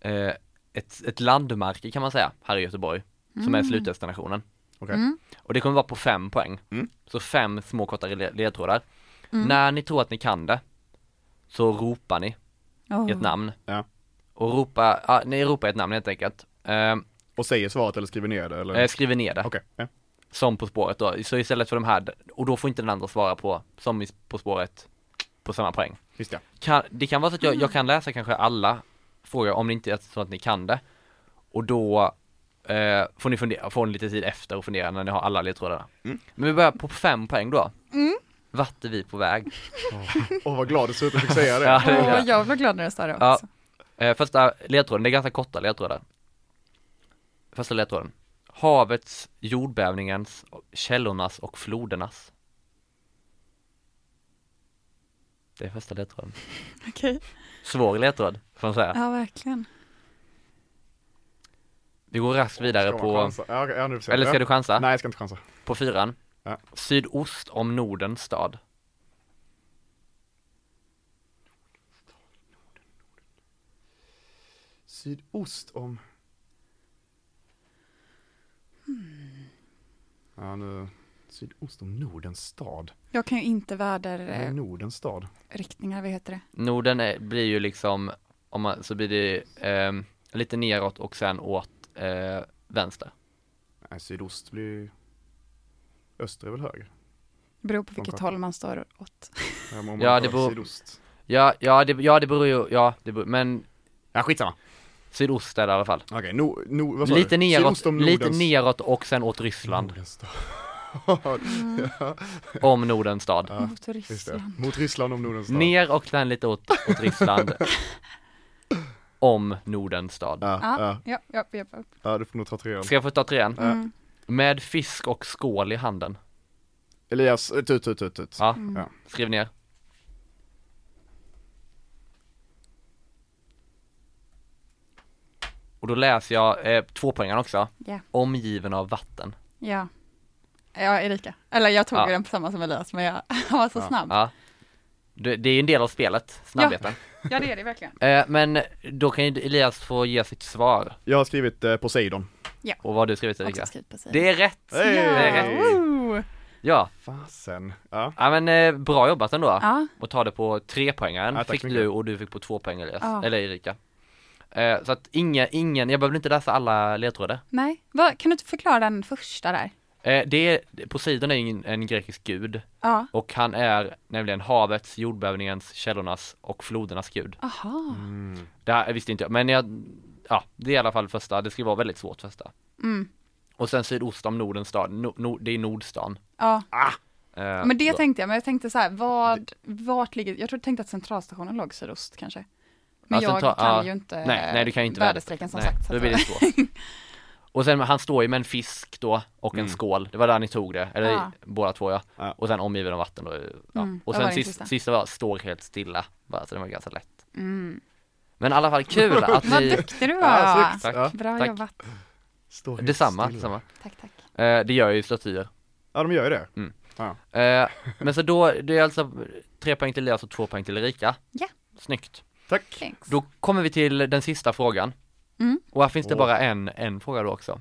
S3: eh, ett, ett landmärke kan man säga här i Göteborg Som är slutdestinationen
S5: Okej.
S3: Och det kommer vara på fem poäng
S5: Mm.
S3: Så fem små korta le- ledtrådar När ni tror att ni kan det Så ropar ni
S4: Oh.
S3: ett namn
S5: Ja.
S3: Och ropa, ja, ni ropar ett namn helt enkelt eh,
S5: Och säger svaret eller skriver ner det eller?
S3: eh, Skriver ner det
S5: Okej. Ja.
S3: som På spåret då, så istället för de här, och då får inte den andra svara på som i På spåret på samma poäng.
S5: Just ja.
S3: Kan, det kan vara så att jag, jag kan läsa kanske alla frågor om det inte är så att ni kan det. Och då eh, får ni fundera, får ni lite tid efter och fundera när ni har alla ledtrådarna. Men vi börjar på fem poäng då. Vart är vi på väg?
S5: Åh vad glad du ser ut att fick säga det.
S3: Ja, det är
S4: Åh,
S3: det.
S4: jag blev glad när du sa det
S3: Ja.
S4: också.
S3: Eh, första ledtråden, det är ganska korta ledtrådar. Första ledtråden. Havets, jordbävningens, källornas och flodernas. Det är första ledtråden.
S4: Okej.
S3: Svår ledtråd, får man säga.
S4: Ja, verkligen.
S3: Vi går raskt vidare
S5: Ska man
S3: på,
S5: chansa? Ja, okej, ja, nu får jag se.
S3: eller ska
S5: Ja.
S3: du chansa?
S5: Nej, jag ska inte chansa.
S3: På fyran.
S5: Ja.
S3: Sydost om Nordens stad.
S5: Sydost om...
S3: Hmm.
S5: Ja, nu... Sydost om Nordens stad.
S4: Jag kan ju inte
S3: Eh.
S5: Vad är
S4: väderriktningar,
S5: Nordens stad?
S4: vad heter det?
S3: Norden är, blir ju liksom, om man, så blir det ehm, lite neråt och sen åt eh, vänster.
S5: Nej, sydost blir ju... Öster är väl högre?
S4: Det beror på vilket
S5: kartan.
S4: håll man står åt.
S5: Ja, men om man
S3: Ja, det
S5: tar
S3: beror-
S5: Sydost.
S3: Ja, ja det, ja det beror ju, ja det beror, men
S5: Ja, skitsamma.
S3: sydost är det i alla fall.
S5: Okej, no, no, vad sa
S3: Lite
S5: du?
S3: neråt,
S5: Sydost om
S3: lite
S5: Nordens- Mm.
S3: neråt och sen åt Ryssland,
S5: Nordens stad.
S3: om Nordens stad.
S5: Ja,
S4: Mot
S5: Just det.
S4: Ryssland.
S5: Mot Ryssland om Nordens stad.
S3: Ner och sen lite åt, åt Ryssland, om Nordens stad.
S5: Ja, ja,
S4: Ja, ja, ja, ja, Mm, ja.
S5: ja, du får nog ta trean.
S3: Ska jag få ta trean?
S5: Ja.
S3: Med fisk och skål i handen.
S5: Elias, eh, tut tut tut tut.
S3: Ja,
S5: Ja.
S3: skriv ner. Och då läser jag eh, tvåpoängaren också,
S4: Ja.
S3: omgiven av vatten.
S4: ja. Ja, Erika. Eller jag tog
S3: Ja.
S4: ju den på samma som Elias, men jag han var så
S5: Ja.
S4: snabb.
S3: Ja. Det, det är ju en del av spelet, snabbheten.
S4: Ja, det är det verkligen.
S3: Eh, men då kan ju Elias få ge sitt svar.
S5: Jag har skrivit eh, Poseidon.
S3: Och vad har du skrivit
S4: Också
S3: Erika?
S4: skrivit på sig.
S3: Det är rätt!
S5: Hey!
S3: är
S4: Ja, woo!
S3: Ja,
S5: Fasen. Ja.
S3: ja men eh, bra jobbat ändå.
S4: ja,
S3: Och ta det på tre poängaren
S5: Ja, tack
S3: fick
S5: så mycket.
S3: du och du fick på två poäng Elias,
S4: Ja.
S3: eller Erika. Eh, så att ingen, ingen, jag behöver inte läsa alla ledtrådar.
S4: nej. Vad- kan du inte förklara den första där?
S3: Eh, det är, Poseidon är ju en, en grekisk gud
S4: Ja.
S3: och han är nämligen havets, jordbävningens, källornas och flodernas gud.
S4: Aha.
S3: Mm. Det här visste inte jag, men jag, ja, det är i alla fall första, det ska vara väldigt svårt första.
S4: Mm.
S3: Och sen sydost om Nordens stad, no, no, det är Nordstan.
S4: Ja,
S3: Eh,
S4: men det
S3: då.
S4: tänkte jag, men jag tänkte så här, vad, vart ligger, jag trodde tänkte att centralstationen låg sydost kanske. Men
S3: Ja,
S4: jag
S3: central-
S4: kan
S3: ja.
S4: ju inte
S3: Nej, nej du kan ju inte
S4: väderstrecken som
S3: nej,
S4: sagt. så
S3: Då
S4: att-
S3: blir det svårt. Och sen han står ju med en fisk då och en skål, det var där ni tog det, eller
S4: Ja.
S3: båda två ja.
S5: Mm. Ja.
S3: Och sen omgiven av vatten då. Ja.
S4: Mm,
S3: Och
S4: det var
S3: sen
S4: den
S3: sist,
S4: sista.
S3: sista var står helt stilla, bara, så det var ganska lätt.
S4: Mm.
S3: Men i alla fall kul att
S4: Vad
S3: vi,
S4: duktig du
S5: Ja,
S4: var.
S5: snyggt.
S3: Tack.
S5: Ja,
S4: Bra
S3: Tack.
S4: jobbat.
S5: står helt
S3: detsamma,
S5: stilla.
S3: detsamma.
S4: Tack, tack.
S3: Eh, det gör ju statyer.
S5: Ja, de gör ju det.
S3: Mm. Eh, men så då, det är alltså tre poäng till Elias och två poäng till Erika.
S4: Ja.
S3: Snyggt.
S5: Tack.
S4: Thanks.
S3: Då kommer vi till den sista frågan.
S4: Mm.
S3: Och här finns det
S5: Åh.
S3: bara en, en fråga då också.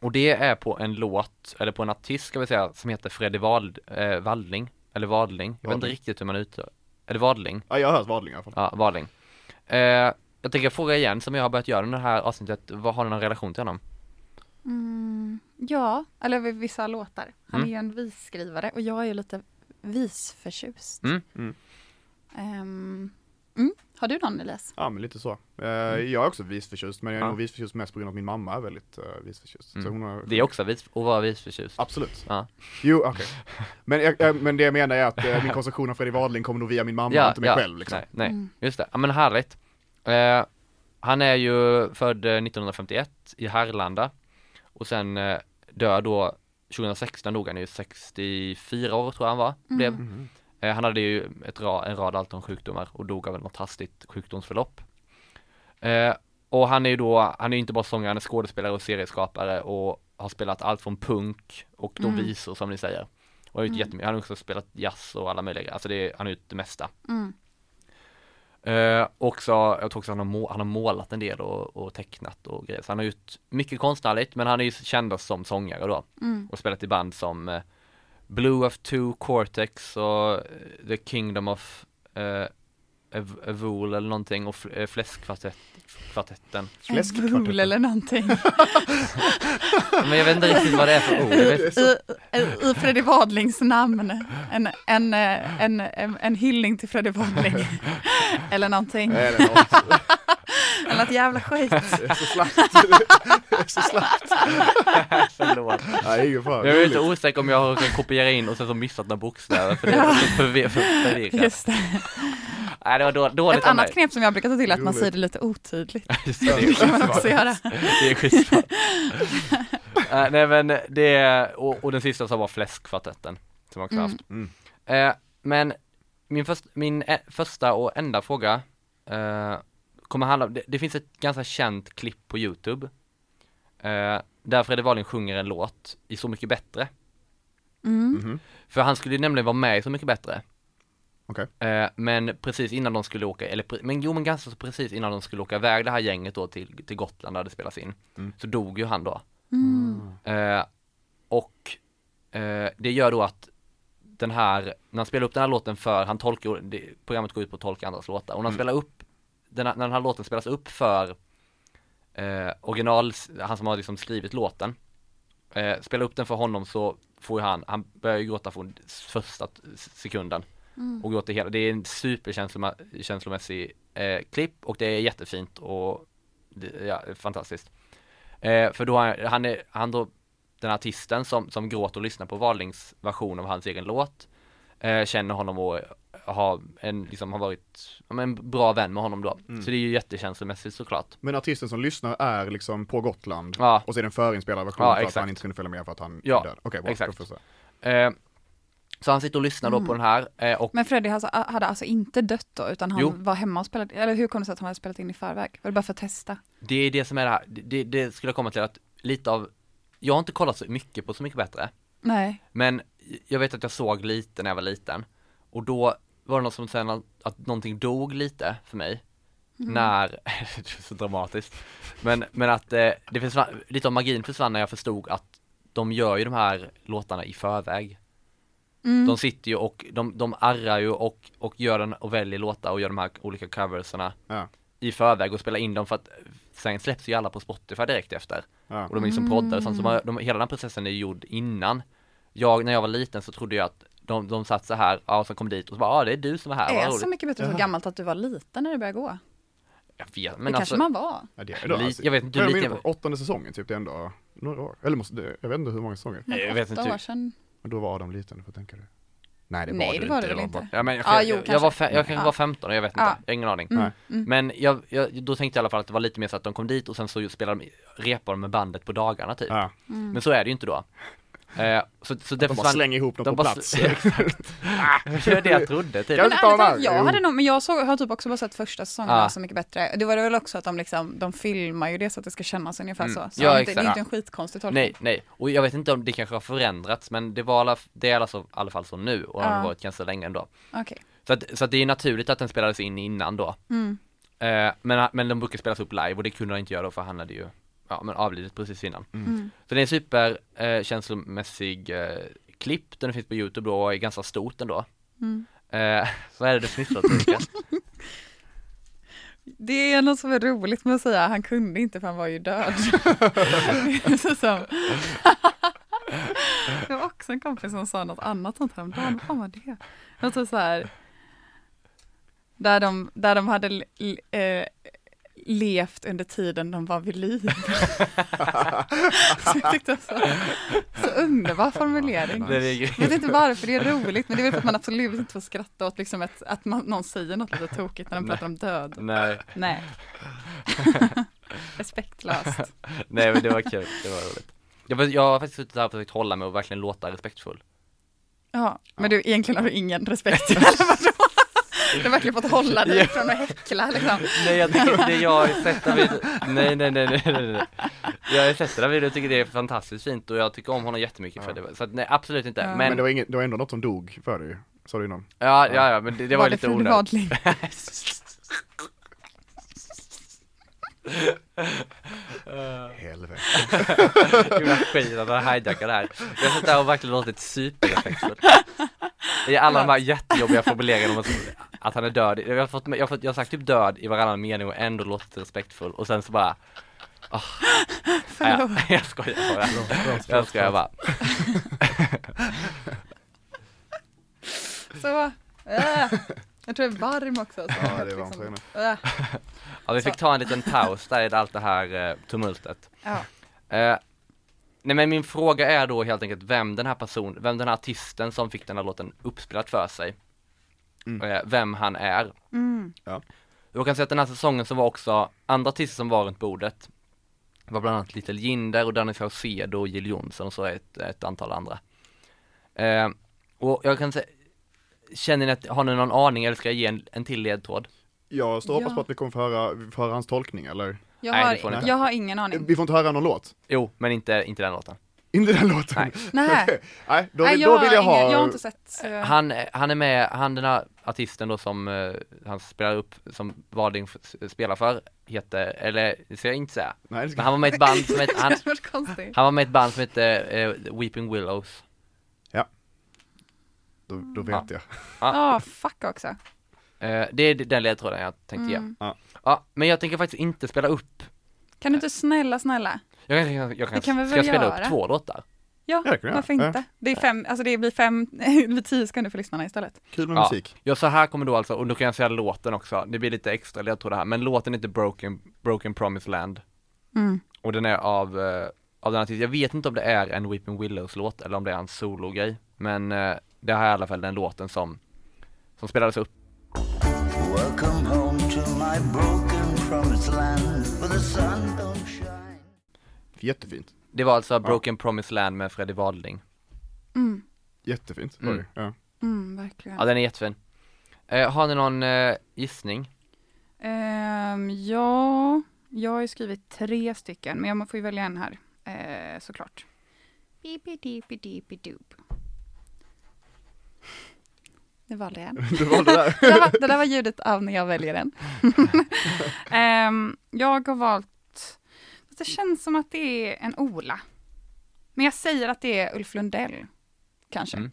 S3: Och det är på en låt, eller på en artist ska vi säga, som heter Freddy Wald, eh, Wadling, eller Wadling, jag vet inte
S5: Wadling.
S3: riktigt hur man uttalar Eller Wadling,
S5: Ja, jag har hört Vadling i alla fall.
S3: ja Wadling. Eh, jag tänker fråga igen, som jag har börjat göra under det här avsnittet, vad har ni någon relation till honom?
S4: Mm, ja, eller vid vissa låtar. Han
S3: Mm.
S4: är ju en visskrivare och jag är ju lite visförtjust.
S3: Mm.
S5: Mm.
S4: Ehm, mm. Har du någon Elias?
S5: Ja, men lite så. Eh, Jag är också visförtjust, men jag är
S3: Mm. Ja.
S5: nog visförtjust mest på grund av att min mamma är väldigt uh, visförtjust. Så
S3: Mm.
S5: hon har...
S3: Det är också vis, och vara visförtjust.
S5: Absolut.
S3: Ja.
S5: Jo, okej. Men, jag- jag- men det jag menar är att eh, min konsumtion av Fredrik Wadling kommer nog via min mamma, inte mig själv. Liksom.
S3: Nej, nej.
S4: Mm.
S3: just det. Ja men härligt. Eh, han är ju född eh, 1951 i Härlanda och sen eh, dör då 2016 dog han ju 64 år tror jag han var.
S4: Mm.
S3: Blev.
S5: Mhm.
S3: Eh, han hade ju ett ra, en rad Alton-sjukdomar och dog av något hastigt sjukdomsförlopp. Eh, och han är ju då, han är ju inte bara sångare, han är skådespelare och serieskapare och har spelat allt från punk och då
S4: Mm.
S3: visor som ni säger. Och har gjort
S4: Mm.
S3: jättemy- han har också spelat jazz och alla möjliga, alltså det är, han har gjort det mesta.
S4: Mm.
S3: Eh, också, jag tror också han har, må, han har målat en del och, och tecknat och grejer. Så han har gjort mycket konstnärligt men han är ju kändast som sångare då.
S4: Mm.
S3: Och spelat i band som eh, Blue of Two, Cortex och eh, The Kingdom of eh, Ev- Evol eller någonting och fl- eh, Fläskkvartetten.
S4: En brol eller någonting.
S3: Men jag vet inte riktigt vad det är för ord. Jag vet,
S4: I, i, i Freddy Wadlings namn. En, en, eh, en, en, en hyllning till Freddy Wadling. eller någonting.
S5: Nej, det är något.
S4: Eller något jävla skit.
S5: Det är så slappt. Det är så slappt.
S3: förlåt.
S5: Nej, ingen fara.
S3: Jag är lite
S5: Roligt.
S3: osäker om jag har råkat kopiera in och sen så missat några bokstäver för det är så förvir- förvirrat.
S4: Just det.
S3: Nej det var då- dåligt
S4: Ett
S3: av
S4: annat
S3: mig.
S4: knep som jag brukar ta till är att man
S5: Roligt.
S4: säger det lite otydligt.
S3: Just det, det är
S4: Det kan man
S3: skitbra.
S4: också göra.
S3: Det är skitbra. Eh, nej men det, är- och, och den sista så var fläskkvartetten som jag också
S4: Mm.
S3: haft.
S5: Mm.
S3: Eh, men min, först, min e- första och enda fråga eh, kommer handla om, det, det finns ett ganska känt klipp på Youtube eh, där Fredrik Wahlin sjunger en låt i Så mycket bättre.
S4: Mm.
S5: Mhm.
S3: För han skulle ju nämligen vara med i Så mycket bättre.
S5: Okej.
S3: Eh, men precis innan de skulle åka, eller pre- men jo men ganska så precis innan de skulle åka iväg det här gänget då till, till Gotland där det spelas in.
S5: Mm.
S3: Så dog ju han då.
S4: Mm.
S3: Eh, och eh, det gör då att den här, när han spelar upp den här låten för, han tolkar, det, programmet går ut på att tolka andras låtar, och när han spelar upp, den här, när den här låten spelas upp för eh, original, han som har liksom skrivit låten, eh, spelar upp den för honom så får ju han, han börjar ju gråta från första t- sekunden och gråter hela, det är en superkänslomässig eh, klipp och det är jättefint och det, ja, fantastiskt. Eh, för då har- han är, han då, den artisten som, som gråter och lyssnar på Wahlings version av hans egen låt eh, Känner honom och har en, liksom har varit, ja, men bra vän med honom då. Så det är ju jättekänslomässigt såklart.
S5: Men artisten som lyssnar är liksom på Gotland
S3: Ja.
S5: och så är det en förinspelad version
S3: Ja,
S5: för att
S3: exakt.
S5: han inte kunde följa med för att han
S3: Ja,
S5: är död. Okej, bra.
S3: exakt.
S5: Då får jag
S3: Eh, så han sitter och lyssnar då på den här eh, och
S4: Men Freddy alltså, hade alltså inte dött då, utan han
S3: Jo.
S4: var hemma och spelade, eller hur kom det sig att han hade spelat in i förväg? Var det bara för att testa?
S3: det är det som är det här, det, det skulle jag komma till att lite av, jag har inte kollat så mycket på Så Mycket Bättre,
S4: Nej.
S3: Men jag vet att jag såg lite när jag var liten och då var det något som sen att, att någonting dog lite för mig när, det är så dramatiskt, men, men att eh, det försvann, lite av magin försvann när jag förstod att de gör ju de här låtarna i förväg. De sitter ju och de, de arrar ju och, och gör den och väljer låtar och gör de här olika coverserna
S5: Ja.
S3: i förväg och spelar in dem för att sen släpps ju alla på Spotify direkt efter.
S5: Ja.
S3: Och de är liksom poddar och sånt, så de, de, hela den processen är gjord innan. Jag, när jag var liten så trodde jag att de, de satt så här, ja, som kom dit och så bara, ja det är du som är här,
S4: Det är
S3: vad
S4: så
S3: roligt.
S4: mycket bättre så
S5: Jaha.
S4: gammalt att du var liten när du började gå.
S3: Jag vet,
S4: det
S3: men alltså,
S4: kanske man var.
S5: Ja, det är det,
S3: Li-
S5: alltså.
S3: jag vet inte hur
S5: Jag är
S3: lite-
S5: inne på åttonde säsongen typ, det är ändå några år. Eller måste, det- jag vet inte hur många säsonger.
S4: Mm.
S3: Nej, jag vet
S4: Åtta
S3: inte.
S4: år sedan.
S5: Men då var Adam liten, får tänka du. Nej
S3: Mm.
S5: det var
S4: Nej,
S5: du
S4: det var
S5: inte.
S4: det väl
S5: bara-
S4: inte.
S3: Ja, men jag,
S4: Ja,
S3: jag,
S4: jo,
S3: jag,
S4: kanske.
S3: var, fe- jag kanske
S4: Ja.
S3: var 15 och jag vet inte,
S4: Ja. Mm,
S3: jag har ingen aning.
S5: Nej.
S3: Men jag, jag, då tänkte jag i alla fall att det var lite mer så att de kom dit och sen så spelade de, repade de med bandet på dagarna typ.
S5: Ja.
S4: Mm.
S3: Men så är det ju inte då. Eh, så, så det
S5: De bara
S3: försvann-
S5: slänger ihop
S3: de
S5: dem på
S3: bara
S5: plats.
S3: sl- Exakt. Det var det jag trodde typ.
S5: Jag
S4: Men
S5: vill ta
S4: ärligt
S5: den här.
S4: talat, jag
S5: Jo.
S4: hade nog, men jag såg, har typ också bara sett första säsongen
S3: Ja.
S4: ah. Så Mycket Bättre. Det var det väl också att de liksom, de filmar ju det så att det ska kännas ungefär
S3: Mm.
S4: så. så
S3: Ja,
S4: det är inte,
S3: exakt.
S4: det är inte en skitkonstig tolkning.
S3: Nej, nej. Och jag vet inte om det kanske har förändrats men det var alla, det är alltså, i alla fall så nu och det har
S4: Ja.
S3: varit ganska länge ändå.
S4: Okej.
S3: Så att, så att det är naturligt att den spelades in innan då. Eh, men, men den brukar spelas upp live och det kunde han inte göra då för han hade ju ja, men avlidit precis innan. Så det är en super eh, känslomässig eh, klipp, den finns på Youtube då och är ganska stort ändå. Mm. Eh, vad är det du fnittrar åt, Ulrika?
S4: Det är något som är roligt med att säga, han kunde inte för han var ju död. Det är så som- Jag har också en kompis som sa något annat sånt häromdagen, vad fan var det? Något så- så här, där de, där de hade l- l- eh, levt under tiden de var vid liv. så jag tyckte det var så, så underbar formulering.
S3: Det är ju-
S4: Jag vet inte varför det är roligt, men det är väl för att man absolut inte får skratta åt liksom ett, att man, någon säger något lite tokigt när de pratar om död.
S3: Nej,
S4: Nej. Respektlöst.
S3: nej men det var kul, det var roligt. Jag, vet- jag har faktiskt suttit här och försökt hålla mig och verkligen låta respektfull.
S4: Ja, men du, egentligen har du ingen respekt. Eller vadå? Du har verkligen fått hålla dig från att häckla liksom.
S3: Nej jag tycker det jag sätter vid nej nej nej nej nej nej Jag sätter vid och tycker det är fantastiskt fint och jag tycker om honom jättemycket för det, så att, nej absolut inte
S4: Ja.
S3: men,
S5: Men det var, inget, det var ändå något som dog för dig ju. Sa du innan.
S3: ja, ja ja men det, det var, lite
S4: Fredrik
S3: onödigt
S4: Wadling?
S5: Helvete.
S3: Gud vad skit att han hijackade det här Jag har suttit här och verkligen låtit superrespektfullt I alla de här jättejobbiga formuleringarna om att, att han är död Jag har, fått, jag, har fått, jag har sagt typ död i varannan mening och ändå låtit respektfull och sen så bara ah. Nej, jag skojar bara Jag skojar bara
S4: Så, äh. jag tror jag är varm också. Så
S5: Ja, det är varmt här inne.
S4: äh.
S3: Ja, vi fick ta en liten paus där i allt det här eh, tumultet.
S4: ja.
S3: Eh, nej men min fråga är då helt enkelt vem den här personen, vem den här artisten som fick den här låten uppspelad för sig, eh, vem han är.
S5: Ja.
S3: Jag kan säga att den här säsongen så var också andra artister som var runt bordet, Det var bland annat Little Jinder och Danny Saucedo och Jill Johnson och så ett, ett antal andra. Eh, och jag kan säga, känner ni att, har ni någon aning eller ska jag ge en, en till ledtråd?
S5: Jag står och hoppas
S4: Ja.
S5: på att vi kommer få höra, vi får höra hans tolkning eller?
S4: jag,
S3: Nej, det får ni
S4: har,
S3: inte.
S4: jag har ingen aning.
S5: Vi får inte höra någon låt?
S3: Jo, men inte, inte den låten.
S5: Inte den låten?
S3: Nej.
S4: Nej.
S5: Okej. Nej, då,
S4: Nej,
S5: vill- då vill jag
S4: har ingen-
S5: ha...
S4: Jag har inte sett. eh, Så jag...
S3: Han, han är med, han den här artisten då som eh, han spelar upp, som Wading f- spelar för, heter, eller det ska jag inte säga.
S5: Nej, det ska...
S3: Men han var med i ett band som hette, han,
S4: Det var konstigt.
S3: han var med i ett band som hette eh, Weeping Willows.
S5: då, då vet jag.
S4: Ja, Ah, fuck också. Mm.
S3: Eh, det är den ledtråden jag tänkte ge.
S5: Ja.
S3: Ja, men jag tänker faktiskt inte spela upp,
S4: Kan du inte snälla, snälla?
S3: jag kan, jag, jag kan,
S4: Det kan vi
S3: ska
S4: väl
S3: jag spela upp
S4: göra?
S3: två låtar?
S4: Ja,
S5: Ja, det kan jag.
S4: varför
S5: Ja.
S4: inte? Det är fem, alltså det blir fem, det blir tio sekunder för lyssnarna istället.
S5: Kul med
S3: Ja.
S5: musik.
S3: Ja, så här kommer då alltså, och då kan jag säga låten också, det blir lite extra ledtrådar här, men låten heter Broken, Broken Promised Land.
S4: Mm.
S3: Och den är av, eh, av den artisten, jag vet inte om det är en Weeping Willows låt eller om det är en sologrej Men eh, det här är i alla fall den låten som, som spelades upp
S6: Welcome home to my broken promised land where the sun don't shine.
S5: Jättefint.
S3: Det var alltså Broken Promised Land med Freddie Wadling
S5: Jättefint. var det. Ja.
S4: Mm, verkligen.
S3: Ja den är jättefin eh, Har ni någon eh, gissning?
S4: Ehm, ja, jag har ju skrivit tre stycken, men jag må- får ju välja en här, eh, såklart. Bibidibidibidoop. Nu valde jag en.
S5: Du valde där.
S4: Jag va- det där var ljudet av när jag väljer den. Ehm, jag har valt, det känns som att det är en Ola. Men jag säger att det är Ulf Lundell, kanske.
S3: Mm.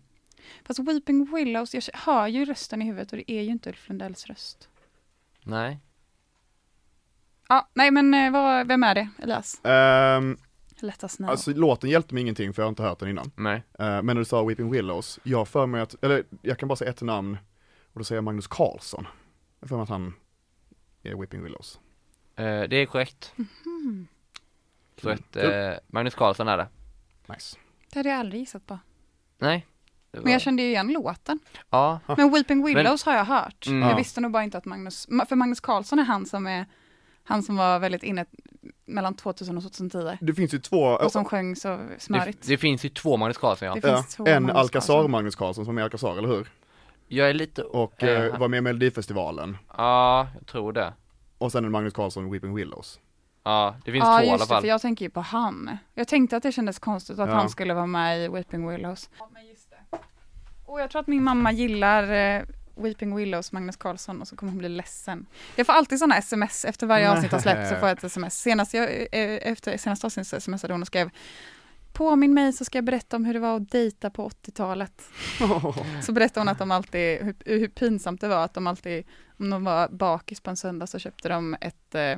S4: Fast Weeping Willows, jag hör ju rösten i huvudet och det är ju inte Ulf Lundells röst.
S3: Nej.
S4: Ja, nej men eh, vad, vem är det, Elias?
S5: Ehm,
S4: Let us know.
S5: alltså låten hjälpte mig ingenting för jag har inte hört den innan.
S3: Nej.
S5: Eh, men när du sa Weeping Willows, jag har för mig att, eller jag kan bara säga ett namn och då säger jag Magnus Carlsson. Jag har för mig att han är Weeping Willows.
S3: Eh, det är korrekt. Så ett,
S5: Kul.
S3: eh, Magnus Carlsson är det.
S5: Nice.
S4: Det hade jag aldrig gissat på.
S3: Nej. Det var-
S4: Men jag kände ju igen låten.
S3: Ja,
S4: Men Weeping Willows har jag hört.
S3: Mm.
S4: Jag
S5: Ja.
S4: visste nog bara inte att Magnus, Ma- för Magnus Carlsson är han som är, han som var väldigt inne mellan 2000 och 2010.
S5: Det finns ju två,
S4: Och som sjöng så
S3: det,
S4: smörigt.
S3: det finns ju två Magnus Carlsson ja.
S4: Det-
S5: ja,
S4: finns två
S5: en
S4: Magnus
S5: Alcazar
S4: Carlsson.
S5: Magnus Carlsson som är Alcazar, eller hur?
S3: Jag är lite...
S5: Och
S3: eh,
S5: eh, var med i Melodifestivalen.
S3: Ja, jag tror det.
S5: Och sen en Magnus Carlsson Weeping Willows.
S3: Ja, det finns
S4: Ja
S3: två i alla
S4: just det,
S3: fall.
S4: för jag tänker ju på han. Jag tänkte att det kändes konstigt att
S5: Ja.
S4: han skulle vara med i Weeping Willows. Ja, men just det. Och jag tror att min mamma gillar eh, Weeping Willows, Magnus Carlsson och så kommer hon bli ledsen. Jag får alltid sådana sms efter varje avsnitt har släppts så får jag ett sms. Senast jag, eh, efter senaste avsnittet så smsade hon och skrev Påminn mig så ska jag berätta om hur det var att dejta på 80-talet. Så berättade hon att de alltid, hur, hur pinsamt det var att de alltid, om de var bakis på en söndag så köpte de ett, eh,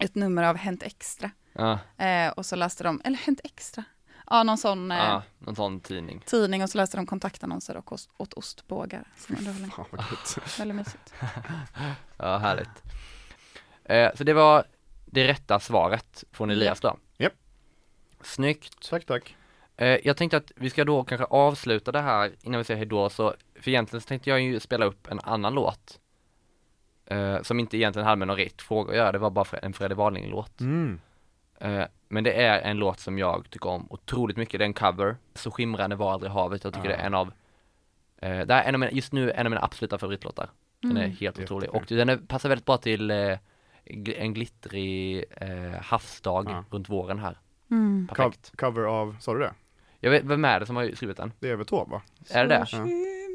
S4: ett nummer av Hänt Extra.
S3: Ja,
S4: Eh, och så läste de, eller Hänt Extra, ja någon sån eh,
S3: ja, någon sån tidning.
S4: tidning och så läste de kontaktannonser och os- åt ostbågar. Så det var väldigt-
S5: Fan vad gött.
S4: Ah, Väldigt mysigt.
S3: Ja, härligt. Eh, så det var det rätta svaret från Elias då.
S5: Japp.
S3: Snyggt.
S5: Tack tack.
S3: Eh, jag tänkte att vi ska då kanske avsluta det här innan vi säger hejdå så, för egentligen så tänkte jag ju spela upp en annan låt. Eh, som inte egentligen hade med någon rätt fråga att göra, det var bara en Freddy Wahlling-låt.
S5: Mm.
S3: Eh, men det är en låt som jag tycker om otroligt mycket, det är en cover, Så skimrande var aldrig havet, jag tycker det är en av, eh, det här är en av mina, just nu en av mina absoluta favoritlåtar. Den är helt otrolig och den är, passar väldigt bra till eh, gl- en glittrig eh, havsdag
S5: Ja.
S3: runt våren här.
S4: Mm.
S5: Co-
S3: Perfekt.
S5: cover av, sa du det?
S3: Jag vet, vem är det som har skrivit den?
S5: Det är väl Taube va?
S3: Är det det?
S5: Ja.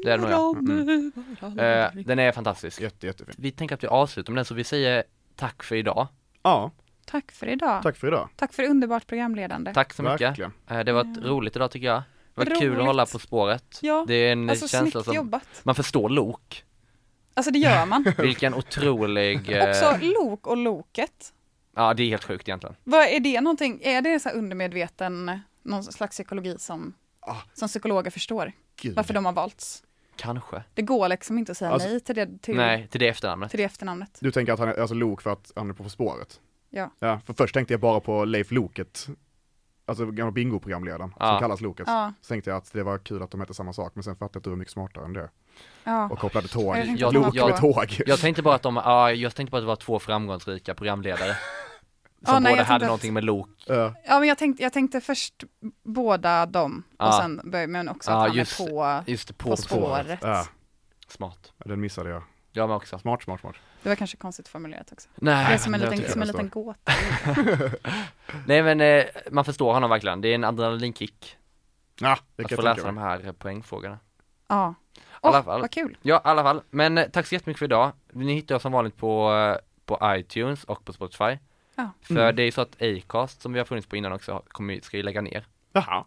S3: Det är det nog ja. Mm. Eh, den är fantastisk.
S5: Jätte, jättefint.
S3: Vi tänker att vi avslutar med den så vi säger tack för idag.
S5: Ja,
S4: Tack för idag. Tack,
S5: tack för idag.
S4: för underbart programledande.
S3: Tack så mycket.
S5: Verkligen.
S3: Eh, det var ett roligt idag tycker jag. Det var
S4: Roligt.
S3: kul att hålla På spåret.
S4: Ja,
S3: Det är en
S4: Alltså
S3: känsla
S4: snyggt
S3: som,
S4: jobbat.
S3: man förstår lok.
S4: Alltså det gör man.
S3: Vilken otrolig, eh,
S4: Också lok och loket.
S3: ja det är helt sjukt egentligen.
S4: Vad är det någonting, är det så här undermedveten, någon slags psykologi som,
S5: Ah.
S4: som psykologer förstår?
S5: Gud.
S4: Varför de har valts?
S3: Kanske.
S4: Det går liksom inte att säga
S5: Alltså-
S4: nej till det, till,
S3: Nej, till det efternamnet.
S4: till det efternamnet.
S5: Du tänker att han är alltså Lok för att han är på På spåret?
S4: Ja.
S5: Ja, för först tänkte jag bara på Leif Loket, alltså gamla bingoprogramledaren
S3: Ja.
S5: som kallas Loket.
S4: Ja.
S5: Så tänkte jag att det var kul att de hette samma sak, men sen fattade jag att du var mycket smartare än det
S4: Ja.
S5: och kopplade tåg.
S4: Jag tänkte
S3: att
S5: Lok
S3: de var
S5: med tåg.
S3: Jag tänkte bara att de, ja jag tänkte bara att det var två framgångsrika programledare. Som
S4: Ja, nej,
S3: båda
S4: jag tänkte
S3: hade
S4: att-
S3: någonting med lok.
S5: Ja,
S4: ja, men jag tänkte, jag tänkte först båda dem
S3: Ja.
S4: och sen börja, men också
S3: Ja,
S4: att han
S3: just-
S4: är på,
S3: Just det, på,
S4: på
S3: spåret.
S4: spåret.
S5: ja,
S3: Smart.
S5: den missade jag.
S3: Jag med också.
S5: Smart, smart, smart.
S4: Det var kanske konstigt formulerat också.
S3: Nej,
S4: Det är som en
S3: men
S4: liten,
S3: tycker
S4: som en
S5: jag
S4: liten gåta.
S3: Nej men eh, man förstår honom verkligen, det är en adrenalinkick
S5: Ja, det
S3: att
S5: kan
S3: få
S5: jag
S3: läsa
S5: tänka
S3: de
S5: mig.
S3: här eh, poängfrågorna
S4: Ja.
S3: alla
S4: Åh,
S3: fall.
S4: vad kul.
S3: Ja i alla fall, men eh, tack så jättemycket för idag Ni hittar oss som vanligt på, eh, på iTunes och på Spotify
S4: Ja.
S3: För det är ju så att Acast som vi har funnits på innan också kommer, ska ju lägga ner
S5: Jaha,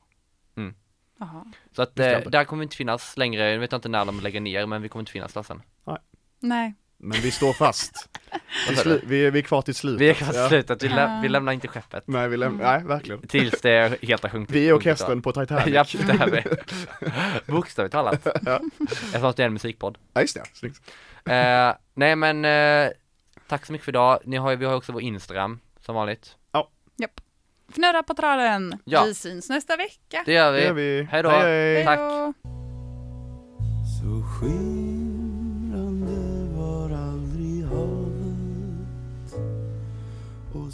S4: Jaha.
S3: Så att
S5: Visste jag
S3: eh,
S5: inte.
S3: där kommer vi inte finnas längre, nu vet jag inte när de lägger ner men vi kommer inte finnas där sen
S4: Nej,
S5: men vi står fast. vi,
S3: sa
S5: slu- vi, är- vi är kvar till slutet.
S3: Vi har
S5: Ja.
S3: slutat, vi, lä- vi lämnar inte skeppet
S5: Nej, vi läm- Nej, verkligen.
S3: Tills det helt har sjunkit
S5: Vi är
S3: sjunkit
S5: orkestern på
S3: av.
S5: Titanic.
S3: Ja, det är vi Bokstavligt talat Eftersom det är en musikpodd
S5: Ja, just det. Snyggt.
S3: Eh, nej men, eh, tack så mycket för idag. Ni har, ju- vi har ju också vår Instagram, som vanligt.
S4: japp. Fnurra på traden.
S3: Ja.
S4: Vi syns nästa vecka.
S3: Det gör vi.
S5: Det gör vi.
S3: Hej då.
S5: Hej, hej.
S3: Tack.
S4: Hej då.
S6: Så skimrande var aldrig havet och